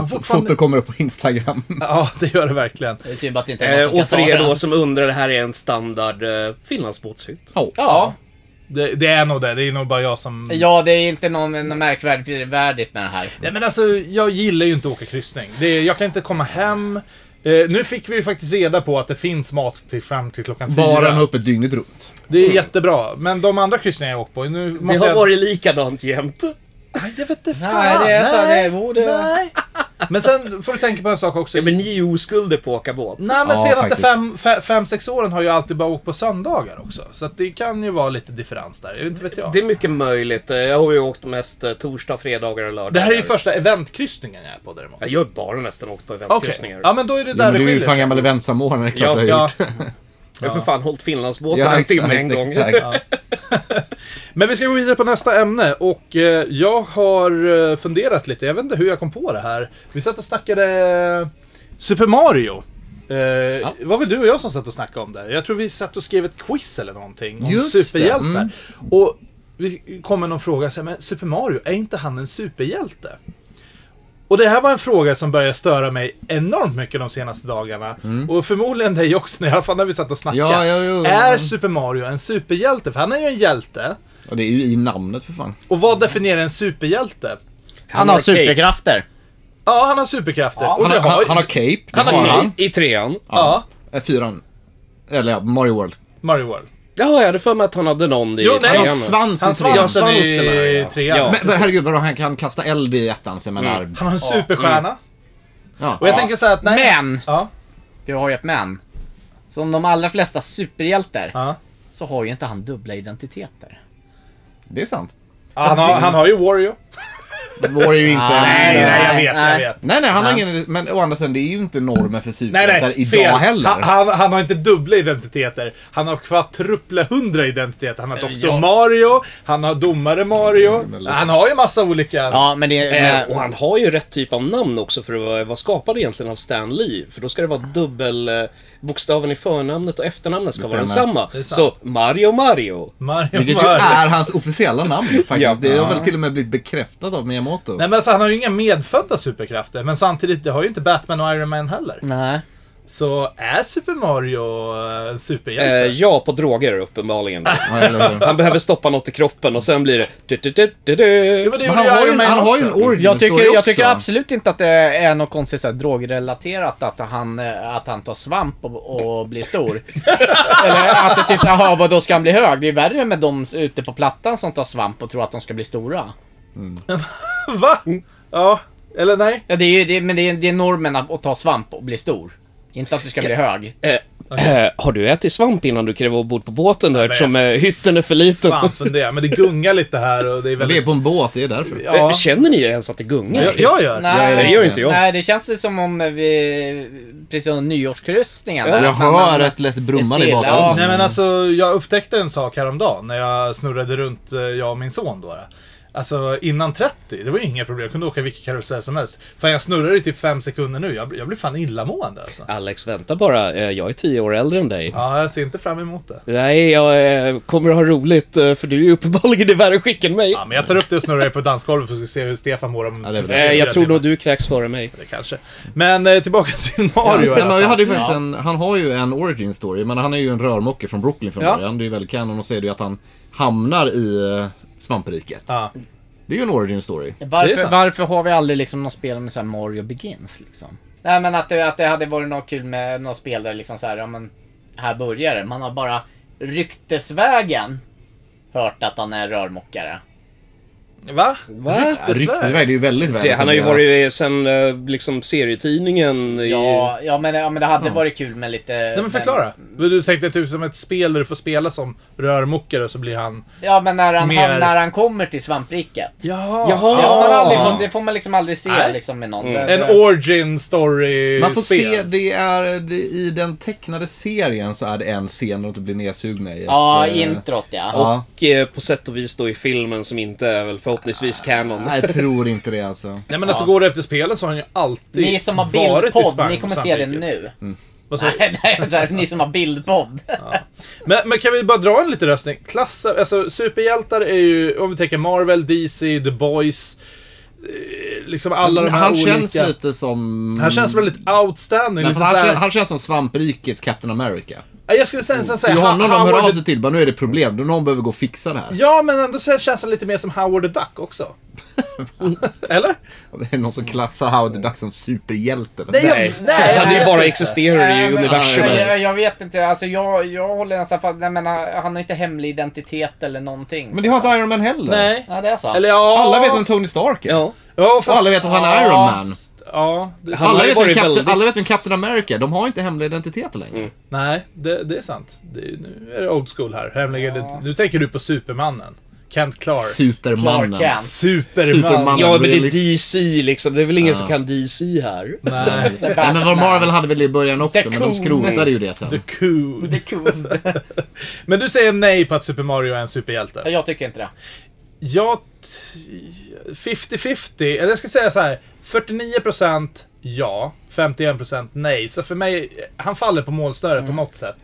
S1: Fot-
S2: fortfarande...
S1: Foto kommer upp på Instagram.
S2: Ja, det gör det verkligen.
S3: Det är synd att det inte är
S4: Eh,
S3: någon som
S4: och för
S3: kan ta
S4: er
S3: den.
S4: då som undrar, det här är en standard eh, finlandsbåtshytt.
S1: Oh.
S3: Ja.
S2: Det, det är nog det. Det är nog bara jag som...
S3: Ja, det är inte någon, något märkvärdigt med det här.
S2: Nej men alltså, jag gillar ju inte att åka kryssning. Det, jag kan inte komma hem. Eh, nu fick vi ju faktiskt reda på att det finns mat till, fram till klockan fyra.
S1: Baren uppe dygnet runt.
S2: Det är jättebra. Men de andra kryssningar jag åkt på, nu måste
S4: Det har
S2: jag...
S4: varit likadant jämt.
S2: Nej, jag vet inte
S3: Nej, det är så. Det är, oh, det...
S2: Nej. Men sen får du tänka på en sak också.
S4: Ja, men ni är ju oskulder på att åka båt.
S2: Nej men
S1: Ja,
S2: senaste
S1: faktiskt.
S2: fem, fe- fem, sex åren har jag alltid bara åkt på söndagar också. Så att det kan ju vara lite differens där. Jag Inte vet jag.
S4: Det
S2: Det,
S4: är mycket möjligt. Eh, Jag har ju åkt mest eh, torsdag, fredagar och lördagar.
S2: här är ju första eventkryssningen jag är på däremot.
S4: Ja, Jag har bara nästan åkt på eventkryssningar.
S2: Okej. Ja men då är det
S1: Men
S2: där det
S1: du är ju fan
S2: skiljer sig.
S1: gammal eventsamordnare. Det är klart
S4: Ja,
S1: du har gjort.
S4: Jag har för fan hållit Finlandsbåten
S1: Ja,
S4: en timme en gång.
S1: exakt.
S2: Men vi ska gå vidare på nästa ämne och eh, jag har eh, funderat lite. Jag vet inte hur jag kom på det här. Vi satt och snackade Super Mario. Eh, Det var väl du och jag som satt och snackade om det. Jag tror vi satt och skrev ett quiz eller någonting om
S1: Just det,
S2: superhjältar.
S1: mm.
S2: Och vi kom med någon fråga, så här, men Super Mario, är inte han en superhjälte? Och det här var en fråga som började störa mig enormt mycket de senaste dagarna. Och förmodligen dig också, i alla fall när vi satt och snackade.
S1: Mm. Ja, ja, ja, ja.
S2: Är Super Mario en superhjälte? För han är ju en hjälte.
S1: Ja, det är ju i namnet för fan.
S2: Och vad definierar en superhjälte?
S3: Han har
S4: Arcade.
S3: superkrafter.
S2: Ja, han har superkrafter. och
S1: Han
S2: det
S1: har, han, han har
S2: ju-
S1: cape. Det
S2: Han har cape.
S1: han.
S4: I trean.
S2: Ja,
S1: Eh, Fyran. Eller ja, Mario World.
S2: Mario World.
S4: Ja, jag hade för mig att han hade någon i
S2: Jo, nej.
S1: Han har
S2: Ja,
S4: trean.
S1: svans i
S2: Han
S1: trean.
S4: Ja,
S2: svansen
S4: svansen här,
S2: i
S4: ja.
S2: trean.
S4: Ja.
S2: Ja.
S1: Men, men herregud, vadå, han kan kasta eld i ettan, så jag menar...
S2: Han har en superstjärna.
S1: Ja.
S2: Och Mm. jag tänker så här att nej...
S3: Men!
S2: Ja,
S3: Vi har ju ett men. Som de allra flesta superhjältar,
S2: ja.
S3: så har ju inte han dubbla identiteter.
S1: Det är sant.
S2: Han, har, han har ju Wario.
S1: Det vore ju inte...
S2: Nej,
S3: Nej,
S2: nej, jag
S3: nej,
S2: vet, jag
S3: nej.
S2: vet.
S1: Nej, nej, han har ingen... Men å andra sidan, det är ju inte normen för
S2: Nej,
S1: superhjältar
S2: nej,
S1: idag
S2: fel.
S1: heller.
S2: Han, han, han har inte dubbla identiteter. Han har kvartruppla hundra identiteter. Han har Doktor Mario, han har Domare Mario. Han har ju massa olika...
S3: Ja, men det...
S4: Eh,
S3: Men,
S4: och han har ju rätt typ av namn också för att vara- vara skapad egentligen av Stan Lee. För då ska det vara dubbel... eh, Bokstaven i förnamnet och efternamnet ska vara
S1: stämmer.
S4: densamma.
S2: är sant.
S4: Så Mario Mario.
S2: Mario,
S1: Vilket ju
S2: Mario.
S1: är hans officiella namn faktiskt.
S4: Ja.
S1: Det har väl till och med blivit bekräftat av Miyamoto.
S2: Nej men alltså han har ju inga medfödda superkrafter, men samtidigt, det har ju inte Batman och Iron Man heller.
S3: nej.
S2: Så är Super Mario eh, en
S4: Eh,
S2: superhjälte?
S4: ja, på droger uppenbarligen. då.
S1: Ja, eller hur?
S4: Han behöver stoppa något i kroppen och sen blir det... Du, du, du, du, du.
S2: Jo, men det
S1: Men
S2: gjorde
S1: han
S2: ju
S1: har ju
S2: Iron
S1: en,
S2: Man
S1: han har ju en
S2: också.
S1: origin
S3: Jag tycker,
S1: story
S3: jag
S1: också.
S3: tycker absolut inte att det är något konstigt så här, drogrelaterat att han, eh, att han tar svamp och, och blir stor. Eller att det typ, jaha vadå ska han bli hög? Det är ju värre med de ute på plattan som tar svamp och tror att de ska bli stora.
S2: Va?
S1: Mm.
S2: Ja. Eller nej?
S3: Ja, det är ju, det, men det är, det är normen att, att ta svamp och bli stor. Inte att du ska bli hög.
S4: Eh, eh, har du ätit svamp innan du klev ombord på båten då eftersom eh,
S2: men-
S4: hytten är för liten? Eh,
S2: Fan funderar Men det gungar lite här och det är
S1: Det är
S2: väldigt...
S1: på en båt, det är därför.
S2: Ja.
S4: Eh, Känner ni ens att det gungar?
S2: Jag, jag gör.
S4: det gör inte jag.
S3: Nej, det känns det som om vi... Precis som nyårskryssningen. där,
S1: Jag
S3: att man-
S1: hör ett lätt brummande i
S3: Stilla, ja.
S1: bakgrunden.
S2: Nej men alltså, jag upptäckte en sak häromdagen när jag snurrade runt, eh, jag och min son då. Alltså innan 30, det var ju inga problem. Jag kunde åka vilken karusell som helst. Fan jag snurrar i typ 5 sekunder nu. Jag, blir- jag blir fan illamående alltså.
S4: Alex, vänta bara. Eh, jag är tio år äldre än dig.
S2: Ja, jag ser inte fram emot det.
S4: Nej, jag eh, kommer att ha roligt eh, för du är ju uppenbarligen i värre skick än mig.
S2: Ja, men jag tar upp det och snurrar det på dansgolvet för att se hur Stefan mår om...
S1: Ja, det är väl
S4: Eh, jag tror nog
S2: nog...
S4: du kräks före mig.
S2: Kanske. Men eh, tillbaka till
S1: Ja,
S2: Mario. i alla
S1: men jag
S2: fall.
S1: hade ju faktiskt en, han har ju en origin story, men han är ju en rörmokare från Brooklyn från
S2: Ja.
S1: början. Det är ju väldigt canon och så är det ju att han hamnar i eh, svampriket.
S2: Ja.
S1: Det är ju en origin story.
S2: Det är
S3: Varför,
S2: sant.
S3: varför har vi aldrig liksom något spel med så här Mario Begins liksom? Nej men att det, att det hade varit något kul med något spel där liksom så här, ja men här börjar det. Man har bara ryktesvägen hört att han är rörmokare.
S2: Va?
S4: Va?
S1: Ryktesväg. Det
S2: Ryktesväg?
S1: är ju väldigt väl
S4: Det, han har ju
S1: etablerat.
S4: varit sen eh, liksom serietidningen i...
S3: Ja, ja, men, ja men det hade varit kul med lite...
S2: Nej men förklara. Du tänkte typ som ett spel där du får spela som rörmokare och så blir han...
S3: ja, men när han,
S2: Mer-
S3: han, när han kommer till svampriket.
S2: Jaha!
S3: Det, har man aldrig
S2: Ja.
S3: fått, det får man liksom aldrig se
S2: Nej. Mm.
S3: liksom med någon.
S2: En
S3: Det, det,
S2: origin story
S1: Man får se,
S2: spel.
S1: det är det, i den tecknade serien så är det en scen där de typ blir nedsugna i.
S3: ja,
S1: ett, eh,
S3: introt ja.
S1: Ja,
S4: Och eh, på sätt och vis då i filmen som inte är väl förhoppningsvis canon.
S1: Ah, nej, jag tror inte det alltså.
S2: Nej men alltså går det efter spelen så har han ju alltid
S3: Ni som har
S2: varit Mm. i
S3: bildpodd,
S2: Spanien
S3: ni kommer
S2: och
S3: se det
S2: Sandviken.
S3: nu.
S2: Vad sa du?
S3: Nej, nej, alltså, ni som har bildpodd.
S2: Men, men kan vi bara dra en liten röstning? Klassar, alltså superhjältar är ju, om vi tänker Marvel, DC, The Boys. eh, Liksom alla de här
S1: han
S2: olika.
S1: känns lite som...
S2: Han känns väldigt outstanding.
S1: Nej,
S2: Lite
S1: för han,
S2: såhär,
S1: känns, han känns som svamprikets Captain America.
S2: Nej, Jag skulle sen, sen
S1: Det
S2: säga
S1: är
S2: Ha-
S1: honom de hör av
S2: Howard...
S1: sig till, bara nu är det problem, någon behöver gå och fixa det här.
S2: Ja, men ändå så känns han lite mer som Howard the Duck också. Eller?
S1: Det är någon som klassar Howard the Duck som superhjälte.
S2: nej, nej,
S4: Han
S2: jag
S4: ju
S2: vet
S4: bara
S2: inte.
S4: existerar
S3: Nej,
S4: i
S3: men-
S4: universumet.
S3: Jag, jag vet inte, alltså jag, jag håller nästan fast, jag menar, han har inte hemlig identitet eller någonting.
S1: Men det har inte Iron Man heller.
S2: Nej.
S3: Ja, det är så.
S2: Eller ja...
S1: Alla vet vem Tony Stark är.
S4: Ja.
S2: Ja, fast...
S1: Och alla vet att han är Iron Man.
S2: Ja, det...
S4: Han
S1: Alla
S4: har ju
S1: vet, vem
S4: varit
S1: Captain,
S4: väldigt- Mm.
S1: alla vet vem Captain America är. De har inte hemliga identiteter längre.
S2: Nej, det, det är sant. Det, är- nu är det old school här. Hemligen, Nu tänker du på Supermannen. Kent Clark.
S1: Supermannen.
S3: Clark Kent.
S2: Superman.
S1: Superman.
S4: Ja, men det
S1: Really?
S4: är DC liksom. Det är väl ingen som kan DC här.
S2: Nej.
S1: Nej, men vad Marvel hade väl det i början också, men de skrotade ju det
S2: The
S1: sen.
S2: Cool.
S3: Cool.
S2: Men du säger nej på att Super Mario är en superhjälte.
S3: Jag tycker inte det.
S2: Jag... t- 50-50, eller jag ska säga så här. 49% ja, 51% nej. Så för mig, han faller på målsnöret på något sätt.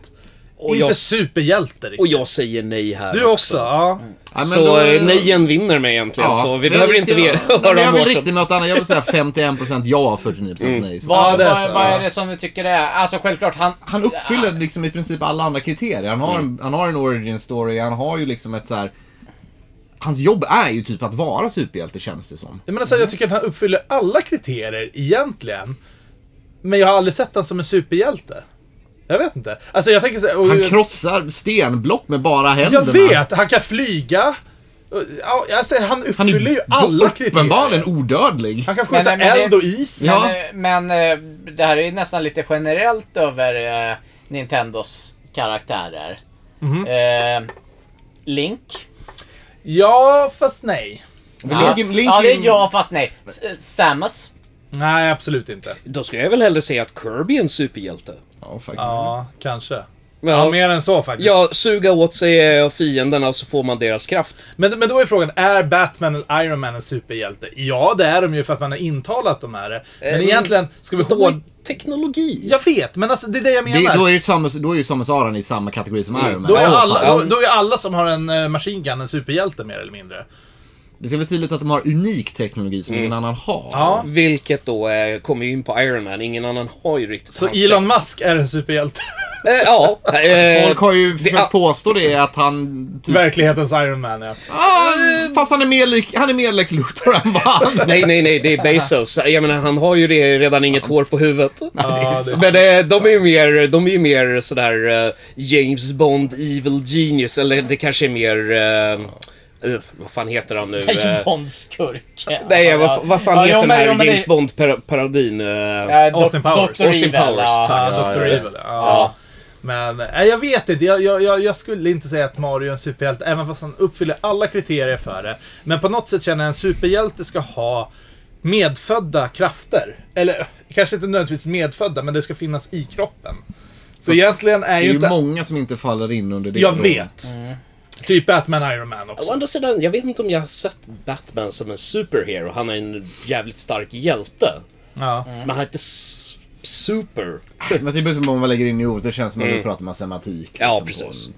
S4: Och
S2: Inte
S4: jag,
S2: superhjälte riktigt.
S4: och jag säger nej här
S2: Du också? Ja.
S1: Ja, men
S4: Så
S1: då-
S4: eh, nejen vinner mig egentligen, så vi
S1: det
S4: behöver
S1: är
S4: inte
S1: riktigt-
S4: ve-
S1: Nej, men Jag
S4: höra om Mm.
S1: vill
S4: Mårten.
S1: riktigt något annat. Jag vill säga 51% ja, 49% nej. Så.
S3: Vad,
S2: det är
S3: vad,
S2: så,
S3: vad
S2: ja.
S3: är det som du tycker det är? Alltså självklart, han...
S1: Han uppfyller liksom i princip alla andra kriterier. Han
S2: Mm.
S1: har, en, han har en origin story, han har ju liksom ett så här. Hans jobb är ju typ att vara superhjälte känns det som.
S2: Jag menar så här, jag tycker att han uppfyller alla kriterier egentligen. Men jag har aldrig sett honom som en superhjälte. Jag vet inte. Alltså jag tänker så här, och-
S1: Han krossar stenblock med bara
S2: Jag
S1: händerna.
S2: vet! Han kan flyga. Ja, Alltså, han
S1: Han är
S2: uppfyller ju alla kriterier.
S1: uppenbarligen odödlig.
S2: Han kan
S3: Men-
S2: skjuta
S3: men det-
S2: eld och is.
S1: Ja.
S3: Men, eh, men eh, det här är ju nästan lite generellt över eh, Nintendos karaktärer. Eh, Link.
S2: Ja, fast nej.
S1: Link- Link-
S3: ja, det är jag fast nej. S- Samus.
S2: Nej, absolut inte.
S4: Då skulle jag väl hellre säga att Kirby är en superhjälte.
S1: Ja, faktiskt.
S2: Ja, kanske. Ja,
S4: Ja,
S2: mer än så faktiskt.
S4: ja, suga åt sig eh, fienderna och så får man deras kraft.
S2: Men, men då är frågan, är Batman eller Iron Man en superhjälte? Ja, det är de ju för att man har intalat dem är det. Men egentligen, ska vi
S4: De har ju
S2: hård...
S4: teknologi.
S2: Jag vet, men alltså det är det jag menar.
S1: Det, då är ju Samus, då är ju Samus Aran i samma kategori som Iron Man.
S2: Då är,
S1: i så
S2: alla,
S1: fall.
S2: då, då är alla som har en uh, machine gun en superhjälte mer eller mindre.
S1: Det ska bli tydligt att de har unik teknologi som ingen annan har.
S2: Mm. Ja.
S4: Vilket då eh, kommer ju in på Iron Man. Ingen annan har ju riktigt
S2: Så
S4: hans
S2: Elon Musk är en superhjälte.
S4: tek- Eh, ja. eh,
S1: Folk har ju
S4: ja.
S1: försökt påstå det att han... Typ,
S2: Verklighetens Iron Man, ja.
S1: ah, fast han är mer lik, han är mer Lex Luthor än vad han är.
S4: Nej, nej, nej, det är Bezos. Jag menar, han har ju det, redan inget hår på huvudet.
S2: Ja, det-
S4: Men eh, de är ju mer, de är ju mer sådär eh, James Bond, Evil Genius, eller det kanske är mer... eh, eh, vad fan heter han nu?
S3: James
S4: Eh,
S3: Bond-skurk.
S4: Nej, vad, vad fan
S3: Ja,
S4: heter
S3: jo,
S4: den
S3: men-
S4: här
S3: jo, men det-
S4: James Bond-parodin?
S3: Eh, Dok-
S2: Austin Powers.
S3: Dr.
S4: Austin
S3: Evil,
S4: Powers,
S3: ja.
S4: tack.
S2: Ja, Dr. Evil. Ja. Men nej, jag vet inte. Jag, jag, jag, jag skulle inte säga att Mario är en superhjälte, även fast han uppfyller alla kriterier för det. Men på något sätt känner jag att en superhjälte ska ha medfödda krafter. Eller kanske inte nödvändigtvis medfödda, men det ska finnas i kroppen. Så egentligen är
S1: det
S2: ju
S1: är
S2: inte...
S1: ju många som inte faller in under det.
S2: jag
S1: då.
S2: vet. Typ Batman Iron Man också.
S4: Å andra sidan, jag vet inte om jag har sett Batman som en superhero. Han är en jävligt stark hjälte.
S2: Ja.
S4: Men han är inte s- super.
S1: Men det beror på vad man lägger in i ordet. Det känns som att
S2: Mm.
S1: vi pratar om semantik.
S4: Ja,
S1: liksom,
S4: precis.
S1: på-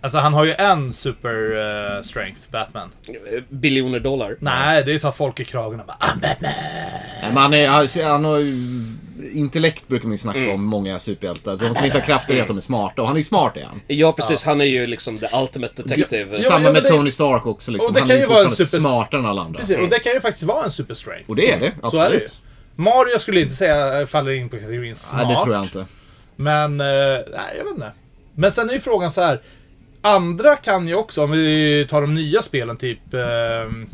S2: Alltså han har ju en super eh, strength, Batman.
S4: Eh, Biljoner dollar.
S2: Nej, det är att ta folk i kragen och bara "Ah, Batman.
S1: Nej, men han, är, alltså, han har ju... Intellekt brukar man ju snacka
S2: Mm.
S1: om, många superhjältar. De som inte har krafter är att de är smarta. Och han är ju smart, är han.
S4: Ja, precis. Han är ju liksom the ultimate detective.
S2: Ja,
S1: Samma
S2: men
S1: med
S2: det-
S1: Tony Stark också. Liksom.
S2: Och det
S1: han
S2: kan
S1: är
S2: ju
S1: ju
S2: vara en
S1: fortfarande
S2: super-
S1: smartare än alla andra.
S2: Precis, och det kan ju faktiskt vara en super strength.
S1: Och det är det, absolut.
S2: Så är det ju. Mario skulle inte säga eh, faller in på kategorin smart.
S1: Nej, det tror jag inte.
S2: Men, eh, nej jag vet inte. Men sen är ju frågan så här. andra kan ju också, om vi tar de nya spelen, typ ehm,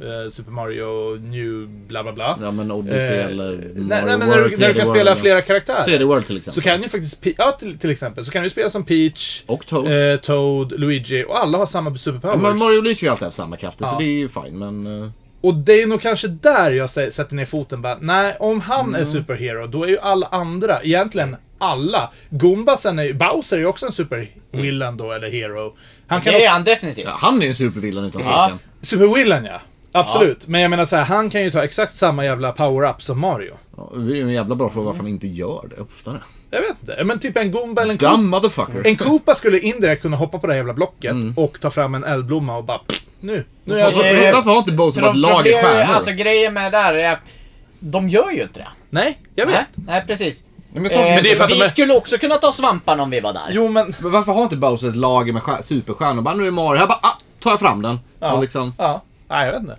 S2: eh, Super Mario New bla bla bla.
S7: Ja men Odyssey
S2: Eh,
S7: eller
S2: Nej, nej, men när
S7: World,
S2: du, när du
S7: 3D
S2: kan
S7: World,
S2: spela
S7: ja.
S2: flera karaktärer.
S7: 3D World till exempel.
S2: Så kan ju faktiskt, Pe- ja till, till exempel, så kan du spela som Peach,
S7: Och Toad.
S2: eh, Toad, Luigi och alla har samma
S7: Ja,
S2: superpowers.
S7: men Mario och Luigi har ju alltid haft samma krafter så
S2: Ja.
S7: det är ju fine men... eh,
S2: Och det är nog kanske där jag sä- sätter ner foten bara, nej, om han
S3: Mm.
S2: är superhero, då är ju alla andra, egentligen alla. Gumbasen är ju, Bowser är ju också en supervillain då, eller hero. Han kan
S3: Det är
S2: också,
S3: han definitivt.
S7: Ja, han är ju en supervillan utan
S3: Ja.
S7: tvekan.
S2: supervillain ja. Absolut. Men jag menar så här, han kan ju ta exakt samma jävla power-up som Mario.
S7: Ja, det är ju en jävla bra fråga varför han inte gör det oftare.
S2: Jag vet inte, men typ en Goomba eller en Koopa.
S7: Dumb
S1: Eh,
S7: motherfucker.
S2: En Koopa skulle indirekt kunna hoppa på det här jävla blocket
S3: Mm.
S2: och ta fram en eldblomma och bara, pff, nu. Nu är jag
S7: Varför,
S2: så...
S3: Eh,
S7: Alltså, varför har inte Bowser varit lager
S3: problem-
S1: eh,
S7: stjärnor?
S3: Alltså grejen med det där är att de gör ju inte det.
S2: Nej, jag
S3: Nej,
S2: vet.
S3: nej precis.
S1: Men jag
S3: Eh,
S1: sa precis-
S2: det är för att
S3: vi
S2: de är-
S3: skulle också kunna ta svamparna om vi var där.
S2: Jo, men...
S1: Men Varför har inte Bowser ett lager med stjär- superstjärnor? Bara, nu är Mario här, bara, ah, tar jag fram den.
S2: Ja.
S1: Och liksom,
S2: Ja. Nej, jag vet inte.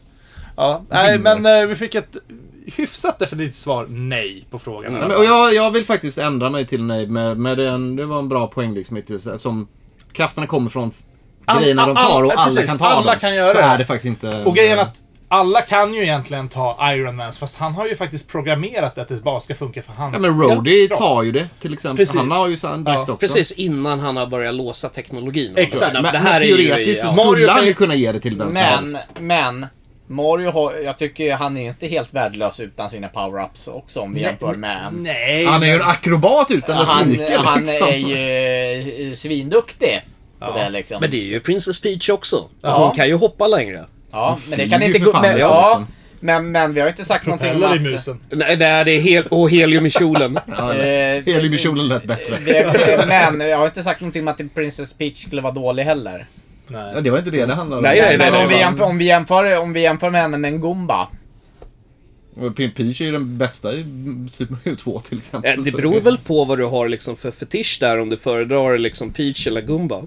S2: Ja. Nej, men eh, vi fick ett hyfsat definitivt svar nej på frågan.
S1: Nej, men, och jag, jag vill faktiskt ändra mig till nej, men, men det, är en- det var en bra poäng liksom. just Eftersom krafterna kommer från
S2: All-
S1: grejerna de tar
S2: all-
S1: och
S2: all-
S1: alla
S2: precis,
S1: kan ta
S2: alla
S1: dem.
S2: kan göra
S1: så
S2: det.
S1: är det faktiskt inte...
S2: Och grejen är att alla kan ju egentligen ta Iron Mans, fast han har ju faktiskt programmerat att det bara ska funka för hans...
S1: Ja, men Rody
S2: kropp.
S1: tar ju det till exempel.
S2: Precis.
S1: Han har ju så- en dräkt
S2: Ja,
S1: också.
S4: Precis innan han har börjat låsa teknologin. å andra
S2: Exakt.
S4: sidan.
S1: Men,
S4: För det
S1: men
S4: här är ju-
S1: teoretiskt så
S4: ja.
S2: Mario
S1: skulle
S2: kan
S1: han
S2: ju-
S1: ju kunna ge det till vem som helst.
S3: Men, men. Mario har, jag tycker ju han är ju inte helt värdelös utan sina power-ups också om vi jämför med en.
S2: Nej.
S1: Han är ju en akrobat utan
S2: alltså,
S1: dess
S3: Han,
S1: like.
S3: han
S1: liksom.
S3: är ju eh, svinduktig på
S2: liksom. Ja.
S3: det liksom.
S4: Men det är ju Princess Peach också.
S2: Ja.
S4: Hon kan ju hoppa längre.
S3: Ja, men det kan
S1: flyger
S3: inte
S1: ju för
S3: gå...
S1: fan
S3: Men,
S1: lite,
S3: ja,
S1: liksom.
S3: men, men vi har inte sagt
S2: Propeller i
S3: någonting om att...
S2: musen.
S4: Nej, nej, det är hel och helium i kjolen.
S7: Ja, eller-
S3: Eh,
S1: Helium i kjolen lät bättre.
S3: det, men jag har inte sagt någonting om att Princess Peach skulle vara dålig heller.
S1: Ja,
S2: Nej.
S1: det var inte det det handlade om.
S4: Nej, nej, nej,
S3: Men
S4: nej.
S3: om vi, jämför, om, vi jämför, om vi jämför med henne med en Goomba.
S1: Och Pe- Peach är ju den bästa i Super Mario 2 till exempel.
S4: Eh, Det
S1: så-
S4: beror väl på vad du har liksom för fetisch där, om du föredrar liksom Peach eller Gumba.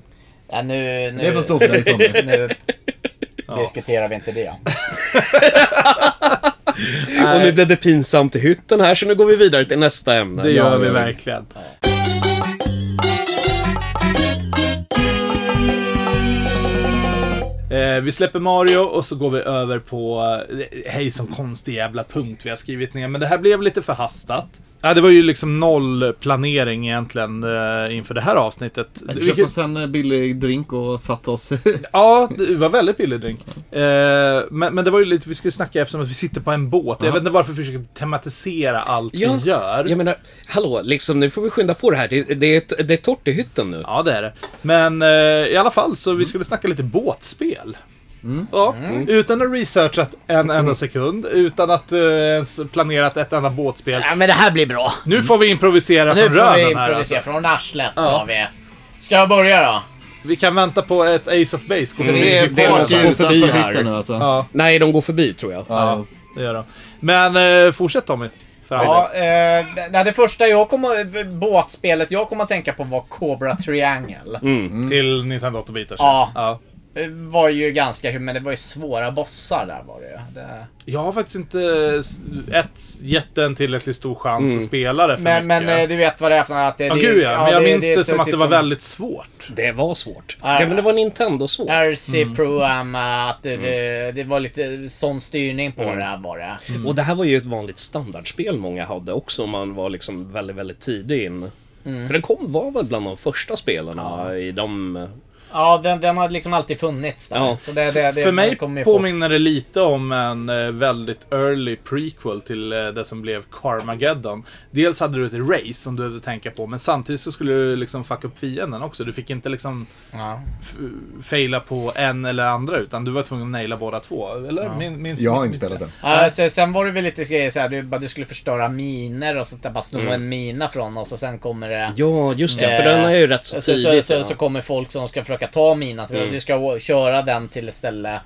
S3: Ja, nu, nu,
S1: Det får stå för dig Tommy.
S3: nu diskuterar vi inte det.
S4: Och nu blev det pinsamt i hytten här, så nu går vi vidare till nästa ämne.
S2: Det gör
S1: Ja,
S2: vi
S1: ja, ja.
S2: verkligen. Eh, vi släpper Mario och så går vi över på, eh, hej som konstig jävla punkt vi har skrivit ner. Men det här blev lite förhastat. Ja, det var ju liksom noll planering egentligen eh, inför det här avsnittet.
S1: Vi
S2: Vilket-
S1: köpte oss en eh, billig drink och satte oss...
S2: Ja, det var väldigt billig drink. Eh, men, men det var ju lite, vi skulle snacka eftersom att vi sitter på en båt. Jag vet inte varför vi försöker tematisera allt
S4: Ja,
S2: vi gör.
S4: Jag menar, hallå, liksom nu får vi skynda på det här. Det, det, är, ett, det är torrt i hytten nu.
S2: Ja, det är det. Men eh, i alla fall, så
S3: Mm.
S2: vi skulle snacka lite båtspel. Ja, Utan att researchat en
S3: Mm.
S2: enda sekund, utan att eh, ens planerat ett enda båtspel.
S3: Ja, men det här blir bra.
S2: Nu får vi improvisera
S3: Nu
S2: från
S3: får vi
S2: röven här.
S3: improvisera
S2: Alltså.
S3: från arslet. Ja. Vi. Ska jag börja då?
S2: Vi kan vänta på ett Ace of Base. kommer
S1: Det är
S2: vi-
S4: det är någon
S1: party
S4: som går förbi
S1: utanför
S4: här.
S1: hytten nu alltså.
S2: Ja,
S4: Nej, de går förbi tror jag.
S2: ja, det gör de. Men eh, fortsätt Tommy. För all
S3: Ja,
S2: del.
S3: eh, det, det första jag kommer, båtspelet jag kommer att tänka på var Cobra Triangle.
S2: Mm. Till Nintendo 8-bitars.
S3: Mm. Ja.
S2: ja.
S3: Det var ju ganska, men det var ju svåra bossar där var det ju. Det...
S2: Jag har faktiskt inte s- ett, gett en tillräckligt stor chans att spela det för
S3: Mm. Men,
S2: mycket.
S3: men eh, du vet vad det är för något? att Det,
S2: ja,
S3: det,
S2: gud ja. Men jag minns det,
S3: är
S2: som att
S3: typ
S2: det var väldigt svårt.
S4: Det var svårt.
S3: Ja.
S4: Ja, men det var Nintendo-svårt.
S3: RC Pro
S4: Mm.
S3: Am, eh, att det, det, det var lite sån styrning
S4: Mm.
S3: på det här var det.
S4: Och det här var ju ett vanligt standardspel många hade också om man var liksom väldigt, väldigt tidig in. För den kom, var väl bland de första spelarna i de...
S3: Ja, den, den har liksom alltid funnits där.
S4: Ja.
S3: Så det, det, det,
S2: för mig
S3: kommer ju på.
S2: påminner det lite om en eh, väldigt early prequel till eh, det som blev Carmageddon. Dels hade du ett race som du behövde tänka på, men samtidigt så skulle du liksom fucka upp fienden också. Du fick inte liksom
S3: Ja.
S2: f- faila på en eller andra, utan du var tvungen att naila båda två. Eller? Min, minns,
S1: Jag har
S2: minns
S1: inte spelat den.
S3: Ja, Eh, så, sen var det väl lite grejer såhär, du, bara- du skulle förstöra miner och sånt där. Bara sno en mina från oss och sen kommer det...
S4: Ja, Mm. just det. För
S3: Eh,
S4: den är ju rätt så
S3: Så, så,
S4: tidigt.
S3: så,
S4: ja.
S3: så kommer folk som ska försöka ta minan. Mm. Du ska å- köra den till ett ställe.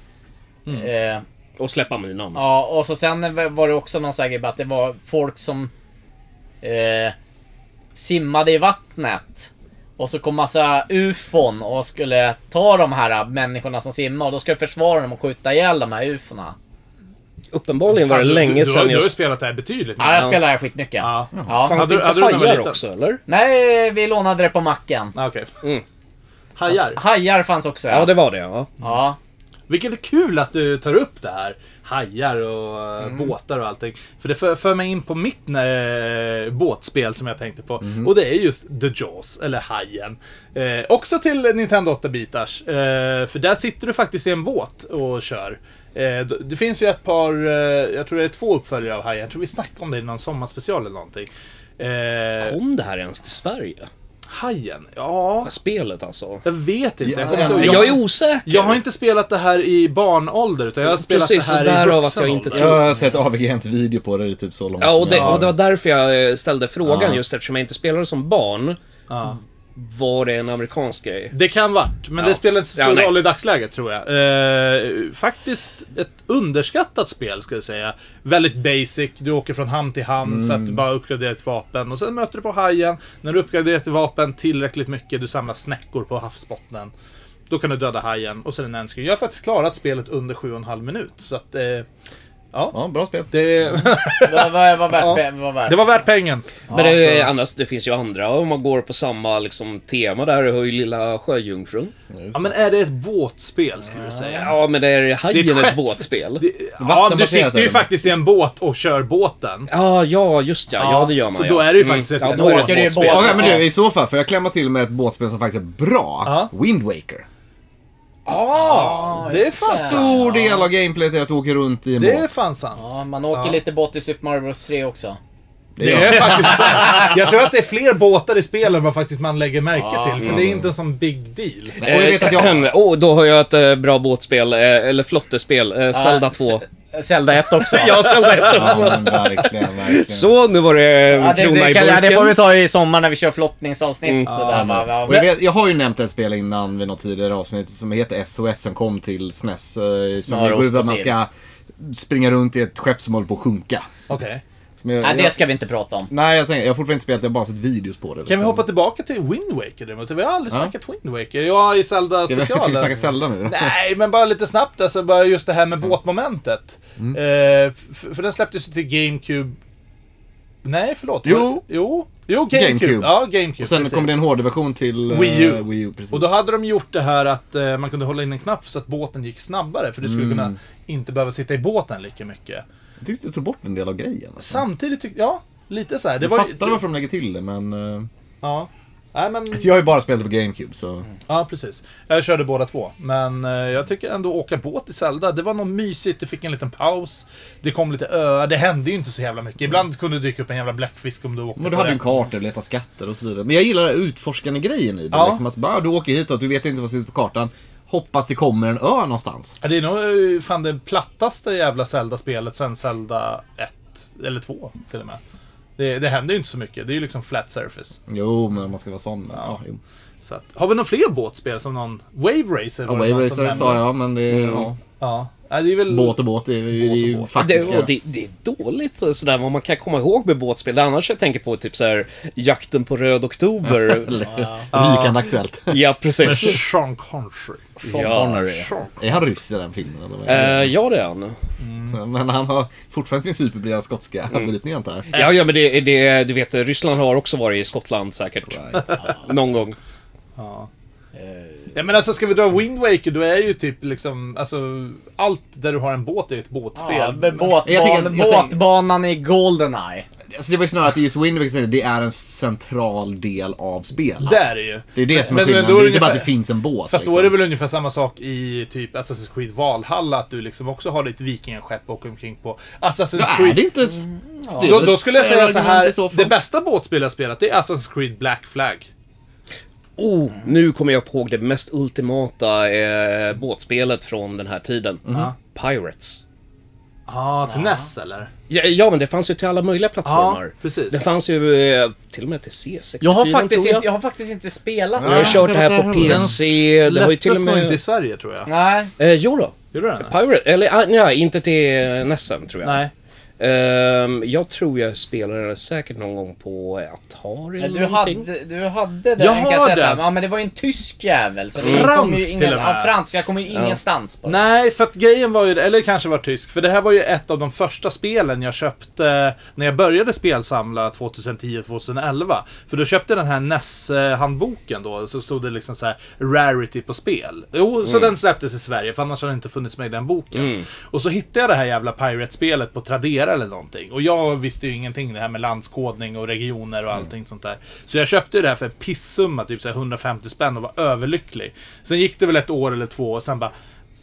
S4: Mm.
S3: Eh,
S4: Och släppa minan.
S3: Ja, och så sen var det också någon sån här grej att det var folk som eh, simmade i vattnet. Och så kom massa ufon och skulle ta de här människorna som simmar och då skulle försvara dem och skjuta ihjäl de här ufona.
S4: Uppenbarligen var det
S2: Fan, du-
S4: länge
S2: du, du, har-
S4: sedan
S2: du har ju
S4: jag...
S2: spelat det här betydligt.
S3: Ja, jag spelar här skitmycket.
S2: Ja.
S3: Ja.
S2: Fan.
S4: Fanns
S2: Hade du-
S4: det inte
S2: hade du när du var
S4: hajar
S2: liten?
S4: också, eller?
S3: Nej, vi lånade det på macken.
S2: Ah, Okej.
S4: Mm.
S2: Hajar.
S3: Hajar fanns också ja.
S4: Ja, det var det ja.
S3: ja.
S2: Vilket är kul att du tar upp det här. Hajar och eh, båtar och allting. För det för, för mig in på mitt eh, båtspel som jag tänkte på. Och det är just The Jaws, eller Hajen. Eh, också till Nintendo 8-bitars. Eh, för där sitter du faktiskt i en båt och kör. Eh, d- det finns ju ett par, eh, jag tror det är två uppföljare av Hajen. Jag tror vi snackade om det i någon sommarspecial eller någonting. Eh,
S4: Kom det här ens till Sverige?
S2: hajen? Ja,
S4: Ja, Spelet alltså.
S2: jag vet inte. Jag,
S1: Ja,
S2: kommer inte ihåg.
S4: Jag är osäker.
S2: Jag har inte spelat det här i barnålder, utan jag har spelat
S4: Precis,
S2: det här
S4: så
S2: i
S4: därav
S2: vuxen
S4: att jag inte
S2: ålder.
S1: Jag har sett AVGNs video på det, det är typ så långt
S4: Ja, och
S1: som
S4: det,
S1: jag har.
S4: och det var därför jag eh, ställde frågan
S1: Ja.
S4: just eftersom jag inte spelade som barn.
S2: Ja.
S4: Var det en amerikansk grej?
S2: Det kan varit, men det
S4: Ja.
S2: spelar inte så
S4: Ja,
S2: stor
S4: nej.
S2: roll i dagsläget tror jag. Eh, faktiskt ett underskattat spel, ska jag säga. Väldigt basic, du åker från hamn till hamn för
S4: Mm.
S2: att bara uppgradera ett vapen. Och sen möter du på hajen. När du uppgraderar ett vapen tillräckligt mycket, du samlar snäckor på havsbottnen. Då kan du döda hajen och sen en endscreen. Jag har faktiskt klarat spelet under 7,5 minut, så att... Eh, ja,
S1: Ja, bra spel.
S2: det,
S3: Vad var, var värt,
S2: Ja.
S3: var värt.
S2: det var värt pengen.
S4: Men det,
S2: alltså-
S4: är- annars, det finns ju andra, om man går på samma liksom, tema där, har ju Lilla Sjöjungfrun.
S2: Ja, men är det ett båtspel, skulle du säga?
S4: Ja, men det är
S2: Det är
S4: Hajen
S2: ett
S4: ett
S2: skepp.
S4: båtspel.
S2: Det, ja,
S1: Vattenbaserat
S2: du
S1: är
S2: sitter ju
S1: det.
S2: faktiskt i en båt och kör båten.
S4: Ja, ja, just ja. Ja, det gör man
S2: Så
S4: ja. Mm.
S2: då är det ju faktiskt ett
S4: ja, då är det
S3: åker
S4: ett
S3: det ju
S4: båtspel.
S3: båt.
S1: Ja, men du, i så fall får jag klämma till med ett båtspel som faktiskt är bra.
S2: Ja.
S1: Wind Waker.
S2: Ja, det är fan sant.
S1: Stor del av gameplayet är att du åker runt i en
S2: Det är
S1: båt.
S2: fan sant.
S3: Ja, man åker lite bort i Super Mario Bros 3 också.
S2: Det är faktiskt sant. Jag tror att det är fler båtar i spel än vad faktiskt man lägger märke
S3: Ja. mm.
S2: till. För det är inte en sån big deal.
S1: Och jag vet att jag...
S4: oh, då har jag ett eh, bra båtspel, eh, eller flottespel, eh, Zelda
S3: Ja,
S4: 2.
S3: Z- Zelda 1 också.
S4: Ja, Zelda 1
S1: Ja,
S4: också.
S1: men verkligen, verkligen.
S4: Så, nu var det
S3: Ja,
S4: en
S3: det,
S4: krona
S3: det,
S4: i
S3: kan, ja, det får vi
S4: burken.
S3: ta i sommar när vi kör flottningsavsnitt. Sådär, va, va.
S1: Och jag, vet, jag har ju nämnt ett spel innan vid något tidigare avsnitt som heter SOS som kom till SNES. eh, Som
S3: Smör,
S1: går
S3: ost
S1: ut
S3: och
S1: att man
S3: sill.
S1: ska springa runt i ett skepp som håller på att sjunka.
S2: Okej.
S1: Som jag,
S3: Nej, det
S1: jag,
S3: ska vi inte prata om.
S1: nej, jag, säger- jag har fortfarande inte spelat det, jag har bara sett videos på det.
S2: Kan
S1: liksom.
S2: vi hoppa tillbaka till Wind Waker däremot? Vi har aldrig snackat Wind Waker. Ja, i Zelda
S1: Ska vi, ska vi snacka
S2: specialen.
S1: Zelda Mm. nu?
S2: Nej, men bara lite snabbt alltså, bara just det här med båtmomentet.
S1: Mm.
S2: Eh, f- för den släpptes ju till GameCube. Nej, förlåt.
S1: Jo.
S2: Jo, jo GameCube.
S1: GameCube.
S2: Ja, GameCube.
S1: Och sen
S2: precis.
S1: kom det en HD-version till eh,
S2: Wii U.
S1: Wii U precis.
S2: Och då hade de gjort det här att eh, man kunde hålla in en knapp så att båten gick snabbare. För du skulle
S1: Mm.
S2: kunna inte behöva sitta i båten lika mycket.
S1: Jag tyckte du tog bort en del av grejen. Alltså.
S2: Samtidigt tyckte jag... Lite så här. Det
S1: Jag
S2: var, ju-
S1: fattar varför de lägger till det, men... eh,
S2: Ja. Nej, men...
S1: Så jag har ju bara spelat det på GameCube, så...
S2: Ja, precis. Jag körde båda två. Men eh, jag tycker ändå åka båt i Zelda, det var något mysigt. Du fick en liten paus. Det kom lite öar. Det hände ju inte så jävla mycket. Ibland kunde det dyka upp en jävla bläckfisk om du åkte
S1: Men
S2: på
S1: du hade
S2: det.
S1: en karta, du letade skatter och så vidare. Men jag gillar den här utforskande grejen i det.
S2: Ja.
S1: Liksom att bara, du åker hit och du vet inte vad som finns på kartan. Hoppas det kommer en ö någonstans.
S2: Ja, det är nog eh, fan det plattaste jävla Zelda-spelet sen Zelda 1. Eller 2 till och med. Det, det händer ju inte så mycket. Det är ju liksom flat surface.
S1: Jo, men man ska vara sån. Ja. jo.
S2: Så att, har vi några fler båtspel som någon... Wave Racer?
S1: Ja,
S2: var
S1: Wave
S2: det någon som
S1: Racer
S2: nämnde.
S1: sa jag, men det är... Ja.
S2: Ja. ja. Det är väl...
S1: Båt och båt, det är, det är ju
S2: Mm. båt.
S1: faktiskt...
S4: Det, och det, det är dåligt och sådär vad man kan komma ihåg med båtspel. Det är annars jag tänker på typ såhär Jakten på Röd Oktober.
S1: Rykande aktuellt.
S4: ja,
S2: Med
S4: precis.
S2: Sean Connery.
S4: Ja.
S2: Sean
S1: Är han ryss i den filmen eller? vad är det?
S4: Eh, ja, det är han.
S2: Mm.
S1: Men han har fortfarande sin superbreda skotska brytning antar jag.
S4: Ja, ja, men det, det, du vet, Ryssland har också varit i Skottland säkert. Någon gång.
S2: Ja men alltså ska vi dra Wind Waker, då är ju typ liksom, alltså allt där du har en båt är ett båtspel.
S3: Ja, b-
S1: Jag
S3: båtban,
S1: tycker- jag tänker-
S3: båtbanan i Goldeneye.
S1: Alltså det var ju snarare att just Wind Waker, det är en central del av spelet.
S2: Det är det ju.
S1: Det är det som är
S2: Men- men
S1: skillnaden.
S2: då
S1: det
S2: är
S1: är
S2: det
S1: inte bara att det
S2: ungefär-
S1: finns en båt.
S2: Fast då
S1: liksom.
S2: är det väl ungefär samma sak i typ Assassin's Creed Valhalla, att du liksom också har ditt vikingaskepp och åker omkring på. Assassin's
S1: Då är
S2: Creed...
S1: det inte... s-
S7: Mm,
S1: det är
S2: Då,
S1: väl
S2: då skulle jag
S1: ett
S2: säga så
S1: argument i
S2: här,
S1: fall.
S2: det bästa båtspel jag spelat, det är Assassin's Creed Black Flag.
S4: Oh, nu kommer jag ihåg det mest ultimata eh, båtspelet från den här tiden. Pirates.
S2: Ah, till NES eller?
S4: Ja, ja, men det fanns ju till alla möjliga plattformar.
S2: Ja, precis.
S4: Det fanns ju eh, till och med till C64.
S3: Jag har,
S4: tror
S3: faktiskt
S4: jag.
S3: inte, jag har faktiskt inte spelat
S4: Jag har
S3: det.
S4: kört det här på
S2: Den
S4: PC. Det har ju till och
S2: släpptes nog inte i
S4: med...
S2: Sverige tror jag.
S3: Nej.
S4: Eh, jo då.
S2: Gjorde den?
S4: Pirate, eller ah, nej, inte till eh, Nessen tror jag.
S2: Nej.
S4: Ehm, jag tror jag spelade det säkert någon gång på Atari eller
S3: Du
S4: någonting.
S3: hade, du hade den
S2: Jag har
S3: kassetten.
S2: den.
S3: Ja men det var ju en tysk jävel. Så det
S2: Fransk
S3: kom ju ingen,
S2: till och med.
S3: Ja, fransk. Jag kommer ju ingenstans på det.
S2: Nej, för att grejen var ju, eller kanske var tysk, för det här var ju ett av de första spelen jag köpte när jag började spelsamla 2010-2011. För då köpte jag den här NES-handboken då, så stod det liksom så här Rarity på spel. Jo, så den släpptes i Sverige, för annars hade den inte funnits med i den boken. Och så hittade jag det här jävla Pirate-spelet på Tradera eller någonting. Och jag visste ju ingenting det här med landskodning och regioner och allting sånt där. Så jag köpte ju det här för en pissumma, typ så här 150 spänn och var överlycklig. Sen gick det väl ett år eller två och sen bara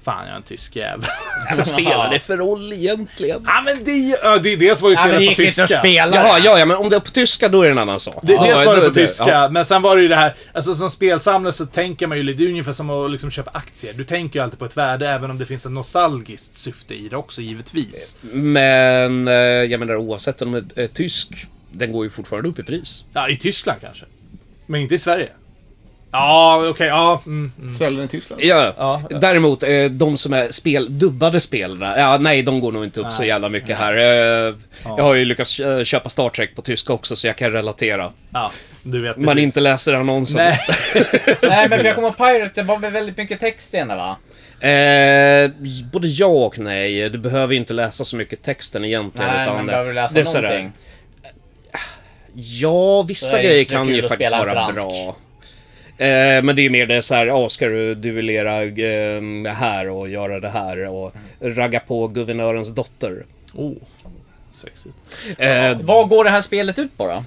S2: Fan, jag är en tysk jävel.
S4: Vad spelar det för roll egentligen?
S2: Ja, men det, ja, det, dels var ju
S3: Ja, men
S2: spelet
S3: det
S2: på
S3: gick inte
S2: tyska.
S3: att spela.
S4: Jaha, ja, ja, men om det är på tyska då är det en annan sak.
S2: Det,
S4: ja,
S2: dels var
S4: då-
S2: det på
S4: då-
S2: tyska,
S4: ja.
S2: men sen var det ju det här, alltså som spelsamlare så tänker man ju lite, det är ungefär som att liksom köpa aktier. Du tänker ju alltid på ett värde, även om det finns ett nostalgiskt syfte i det också, givetvis.
S4: Men eh, jag menar oavsett om det är tysk, den går ju fortfarande upp i pris.
S2: Ja, i Tyskland kanske. Men inte i Sverige. Ja, okej, ja. Mm, mm.
S7: Säljer den i Tyskland?
S4: Ja.
S2: Ja.
S4: Däremot, eh, de som är spel, dubbade spelarna, ja, nej, de går nog inte upp så jävla mycket här. Eh, Jag har ju lyckats eh, köpa Star Trek på tyska också, så jag kan relatera.
S2: ja du vet
S4: Man
S2: precis.
S4: inte läser annonsen.
S2: Nej.
S3: Nej men för jag kommer ihåg Pirate, det var väl väldigt mycket text i den där, va?
S4: Eh, både ja och nej. Du behöver ju inte läsa så mycket texten egentligen.
S3: Nej,
S4: utan
S3: man
S4: det-
S3: behöver läsa
S4: det är sådär-
S3: någonting.
S4: Ja,
S3: Så
S4: vissa
S3: är det
S4: grejer
S3: inte så
S4: kan
S3: kul
S4: ju
S3: att
S4: faktiskt
S3: spela en
S4: vara
S3: fransk.
S4: bra. Eh, men det är ju mer det så här, ja, ska du duellera eh, det här och göra det här och
S3: Mm.
S4: ragga på guvernörens dotter.
S2: Oh, sexigt.
S4: Eh,
S3: Vad går det här spelet ut på då?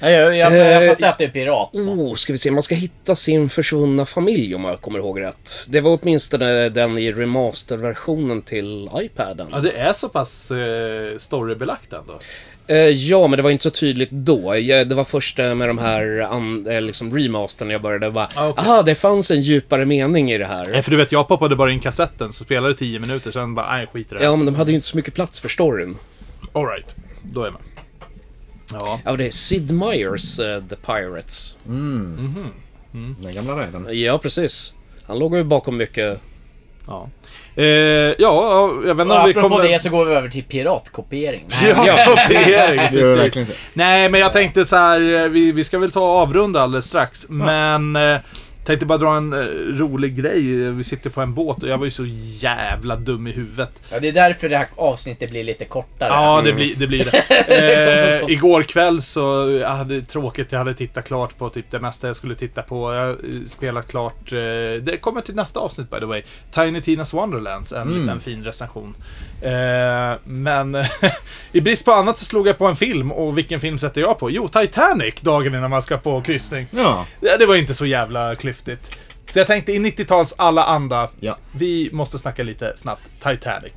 S3: Jag, jag, jag, jag
S4: Eh,
S3: fattar att det är pirat.
S4: Oh, ska vi se, man ska hitta sin försvunna familj om jag kommer ihåg rätt. Det var åtminstone den i remasterversionen till iPaden.
S2: Ja, det är så pass eh, storybelagt ändå.
S4: Eh, ja, men det var inte så tydligt då. Jag, det var först eh, med de här an, eh, liksom remastern jag började bara,
S2: Ah, okej.
S4: aha, det fanns en djupare mening i det
S2: Nej,
S4: här.
S2: för du vet, jag poppade bara in kassetten, så spelade det 10 minuter, sen bara, nej, skit i det.
S4: Ja, men de hade ju inte så mycket plats för storyn.
S2: Alright, då är jag med. Ja.
S4: Ja, det är Sid Meier's eh, The Pirates.
S7: Den gamla räven.
S4: Ja, precis. Han låg ju bakom mycket.
S2: Ja, eh, ja jag vet inte
S3: Och
S2: om vi
S3: apropå
S2: kommer...
S3: det så går vi över till piratkopiering. Nej,
S2: Ja, kopiering,
S7: Det gör det
S2: precis.
S7: verkligen inte.
S2: Nej, men jag tänkte så här, eh, vi, vi ska väl ta och avrunda alldeles strax, men... Eh, Tänkte bara dra en eh, rolig grej. Vi sitter på en båt och jag var ju så jävla dum i huvudet.
S3: Ja, det är därför det här avsnittet blir lite kortare.
S2: Ja, det blir det. Blir det. Eh, igår kväll så jag hade tråkigt. Jag hade tittat klart på typ det mesta jag skulle titta på. Jag eh, spelat klart. Eh, det kommer till nästa avsnitt by the way. Tiny Tinas Wonderlands. En liten fin recension. Eh, men i brist på annat så slog jag på en film. Och vilken film sätter jag på? Jo, Titanic. Dagen innan man ska på kryssning.
S7: Ja.
S2: Ja, Det var inte så jävla klyftigt. Så jag tänkte i 90-tals alla anda.
S7: Ja.
S2: Vi måste snacka lite snabbt. Titanic.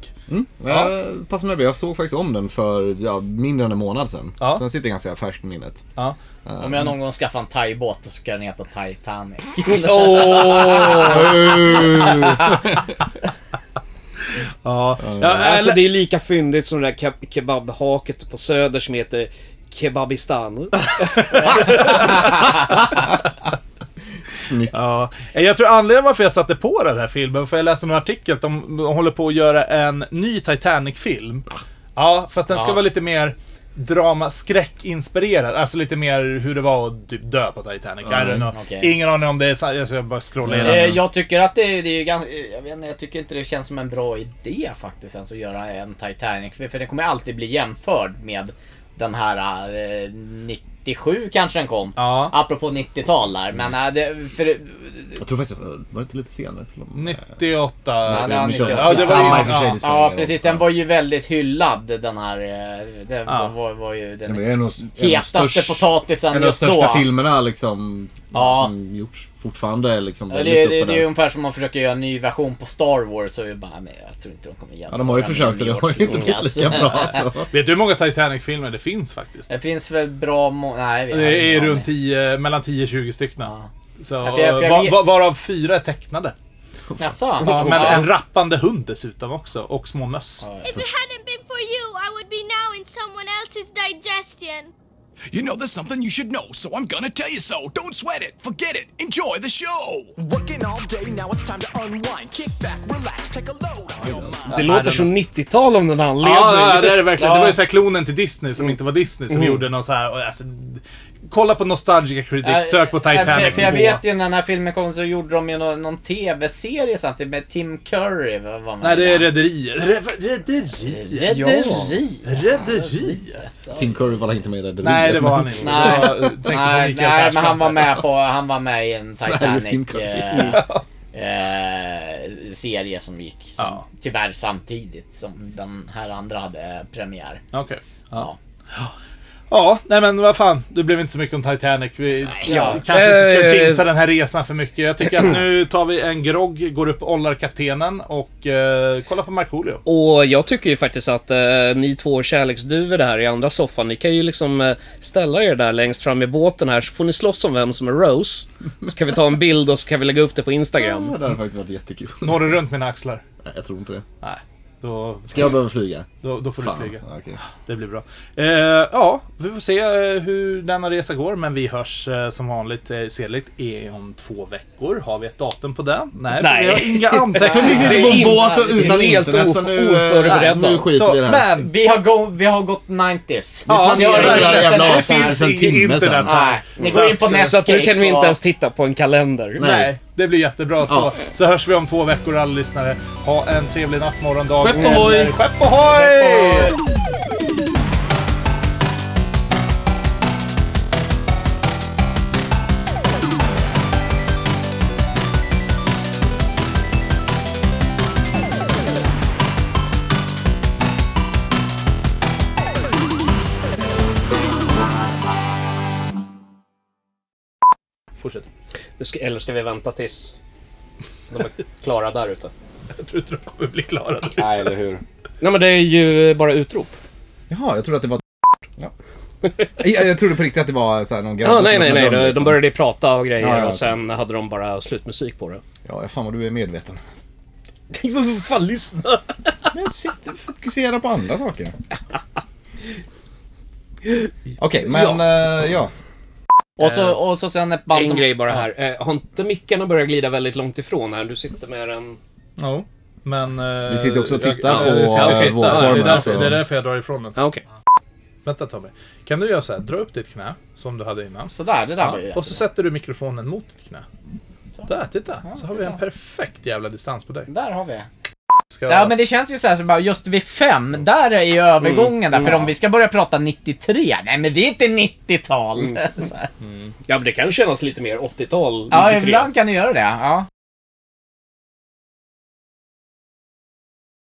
S7: Ja. Pass med det. Jag såg faktiskt om den för ja, mindre än en månad sedan.
S2: Ja.
S7: Så den sitter ganska färskt i minnet.
S2: Ja.
S3: Om jag någon gång skaffar en thaibåt så ska den heta Titanic.
S2: Ja. Ja,
S4: Alltså,
S2: eller-
S4: det är lika fyndigt som det där ke- kebabhaket på Söder som heter Kebabistan.
S2: Ja, jag tror anledningen varför jag satte på den här filmen, för jag läste en artikel att de, de håller på att göra en ny Titanic-film. Ja, fast den ska vara lite mer drama skräckinspirerad. Alltså lite mer hur det var att typ dö på Titanic. I don't know.
S3: okej.
S2: Ingen aning om det är sant. Jag ska bara scrolla
S3: Eh,
S2: igenom. den.
S3: jag tycker att det, det är ju ganska, jag vet inte, jag tycker inte det känns som en bra idé faktiskt ens att göra en Titanic. För, för den kommer alltid bli jämförd med den här eh, 97 kanske den kom.
S2: Ja.
S3: Apropå 90-tal där. Men eh, det, för,
S7: Jag tror faktiskt, var det inte lite senare till och med?
S2: 98.
S3: Ja, det var
S7: men
S3: 90.
S7: kör.
S2: Ja, det var ju-
S7: Samma i och för sig,
S3: ja,
S7: det spelar
S3: ja,
S7: ingen
S3: precis.
S7: roll.
S3: Den var ju väldigt hyllad den här. eh, Den
S2: Ja.
S3: var, var ju den
S7: Det är nog en av
S3: hetaste
S7: störst-
S3: potatisen
S7: En av de
S3: just
S7: största
S3: då.
S7: filmerna liksom.
S3: Ja.
S7: Som gjorts fortfarande liksom.
S3: Ja,
S7: väldigt
S3: Det,
S7: uppe
S3: det, det är
S7: där.
S3: ju ungefär som man försöker göra en ny version på Star Wars och vi bara, nej jag tror inte de kommer jämföra
S7: Ja, de har ju
S3: med
S7: försökt och det har ju inte
S3: George
S7: blivit lika
S3: Lucas.
S7: bra alltså.
S2: Vet du hur många Titanic-filmer det finns faktiskt?
S3: Det finns väl bra må- Nej, vi har
S2: Det är
S3: Eh, ingen
S2: runt
S3: aning.
S2: 10, mellan 10 och 20 stycken. Så,
S3: Ja, för jag- för jag
S2: va-
S3: vet-
S2: va- varav fyra är tecknade.
S3: Jaså?
S2: Ja, men en rappande hund dessutom också. Och små möss.
S8: If it hadn't been for you, I would be now in someone else's digestion. You know, there's something you should know, so I'm gonna tell you so. Don't sweat it, forget it, enjoy the show!
S9: Working all day, now it's time to unwind. Kick back, relax, take a load off your mind.
S4: Det låter som 90-tal om den anledningen.
S2: Ja, ja, det är det verkligen. Det var ju så här klonen till Disney
S3: Mm.
S2: som inte var Disney som gjorde någon så här... och Alltså, kolla på Nostalgica Critic, sök på
S3: Ja, för-
S2: Titanic
S3: För jag
S2: 2.
S3: vet ju när den här filmen kom så gjorde de ju någon, någon TV-serie samtidigt med Tim Curry. Vad var
S2: Nej, det är Rederiet. Re- Rederiet?
S3: Rederi.
S2: Rederiet?
S7: Tim Curry var inte med i det.
S2: Nej, det var han inte.
S3: Nej.
S2: Det var- tänkte på
S3: Nej,
S2: Mikael
S3: nej men
S2: Persbrandt
S3: han var
S2: där.
S3: med på, han var med i en
S7: Sveriges Tim
S3: Titanic
S7: Curry.
S3: eh, eh, serie som gick som,
S2: Ja.
S3: tyvärr samtidigt som den här andra hade eh, premiär.
S2: Okej. Ja. Ja, nej men vad fan. Det blev inte så mycket om Titanic. Vi
S3: ja.
S2: kanske inte
S4: Eh,
S2: ska jinxa den här resan för mycket. Jag tycker att nu tar vi en grogg, går upp och ollar kaptenen och eh, kollar på Markoolio.
S4: Och jag tycker ju faktiskt att eh, ni två kärleksduvor där i andra soffan, ni kan ju liksom eh, ställa er där längst fram i båten här så får ni slåss om vem som är Rose. Så kan vi ta en bild och så kan vi lägga upp det på Instagram.
S7: Det hade faktiskt varit jättekul.
S2: Når du runt mina axlar?
S7: Nej, jag tror inte det.
S2: Nej. Då,
S7: Ska jag behöva flyga?
S2: då, då får du flyga.
S7: Ja, okej.
S2: Det blir bra. Eh, ja, vi får se eh, hur denna resa går, men vi hörs eh, som vanligt eh, sedligt i- om två veckor. Har vi ett datum på det? Nej,
S4: Nej.
S2: vi har inga
S7: Vi
S2: anteckningar.
S7: sitter på en
S3: Innan-
S7: båt och utan
S4: helt
S7: internet så
S4: of-
S7: nu, eh,
S4: oförberedda.
S7: nu skiter
S2: Så,
S7: vi i det här.
S2: men
S3: Vi har, gå, vi har gått 90s.
S2: Ja,
S3: Ni har
S7: planerar
S3: inte
S7: hela
S3: sett
S7: jävla
S3: den.
S2: det
S7: avsnittet
S2: finns
S7: för en
S2: inget
S7: timme
S2: internet.
S7: sedan.
S3: Nej, ni går in på
S4: Så att nu
S3: Netscape
S4: kan vi
S3: och-
S4: inte ens titta på en kalender.
S2: Nej. det blir jättebra. Så,
S7: Ja.
S2: så hörs vi om två veckor alla lyssnare. Ha en trevlig natt, morgon, dag.
S7: Skepp ohoj!
S2: Eller- Skepp ohoj! Fortsätt.
S4: Nu Ska, eller ska vi vänta tills de är klara där ute?
S2: Jag tror inte de kommer bli klara.
S7: Nej, eller hur.
S4: Nej men det är ju bara utrop.
S1: Jaha, jag trodde att det var... Ja. jag, jag trodde på riktigt att det var så här någon granne
S4: Ja,
S1: som
S4: nej, nej,
S1: öppnade
S4: nej.
S1: dörren,
S4: De,
S1: liksom.
S4: de började prata och grejer
S1: Ja, ja,
S4: och sen hade de bara slutmusik på det.
S1: Ja, fan vad du är medveten.
S4: Vad fan, lyssna!
S1: Men jag sitter och fokuserar på andra saker. Okej, men eh, ja.
S3: Och så, och så sen ett band
S4: en
S3: som...
S4: grej bara här. Eh, har inte mickarna börjat glida väldigt långt ifrån här? Du sitter med den...
S2: Jo, men... eh,
S1: Vi sitter också och
S2: jag-
S1: tittar
S2: ja,
S1: på,
S2: vi sitter och
S1: eh,
S2: tittar.
S1: vågformen,
S2: Det är, därför,
S1: så-
S2: det är därför jag drar ifrån den.
S4: Ja, okej.
S2: Vänta Tommy. Kan du göra så här, dra upp ditt knä som du hade innan.
S3: Sådär, det där
S2: Ja,
S3: var ju
S2: och så sätter du mikrofonen mot ditt knä. Där, titta. Så har vi en perfekt jävla distans på dig.
S3: Där har vi.
S2: Ska...
S3: Ja men det känns ju såhär, så bara, just vid fem,
S2: Mm.
S3: där är ju övergången där. För om vi ska börja prata 93, nej men vi är inte
S2: Mm.
S3: 90-tal. Så här.
S4: Ja, men det kan kännas lite mer 80-tal.
S3: Ja,
S4: 93.
S3: ibland kan ni göra det. Ja.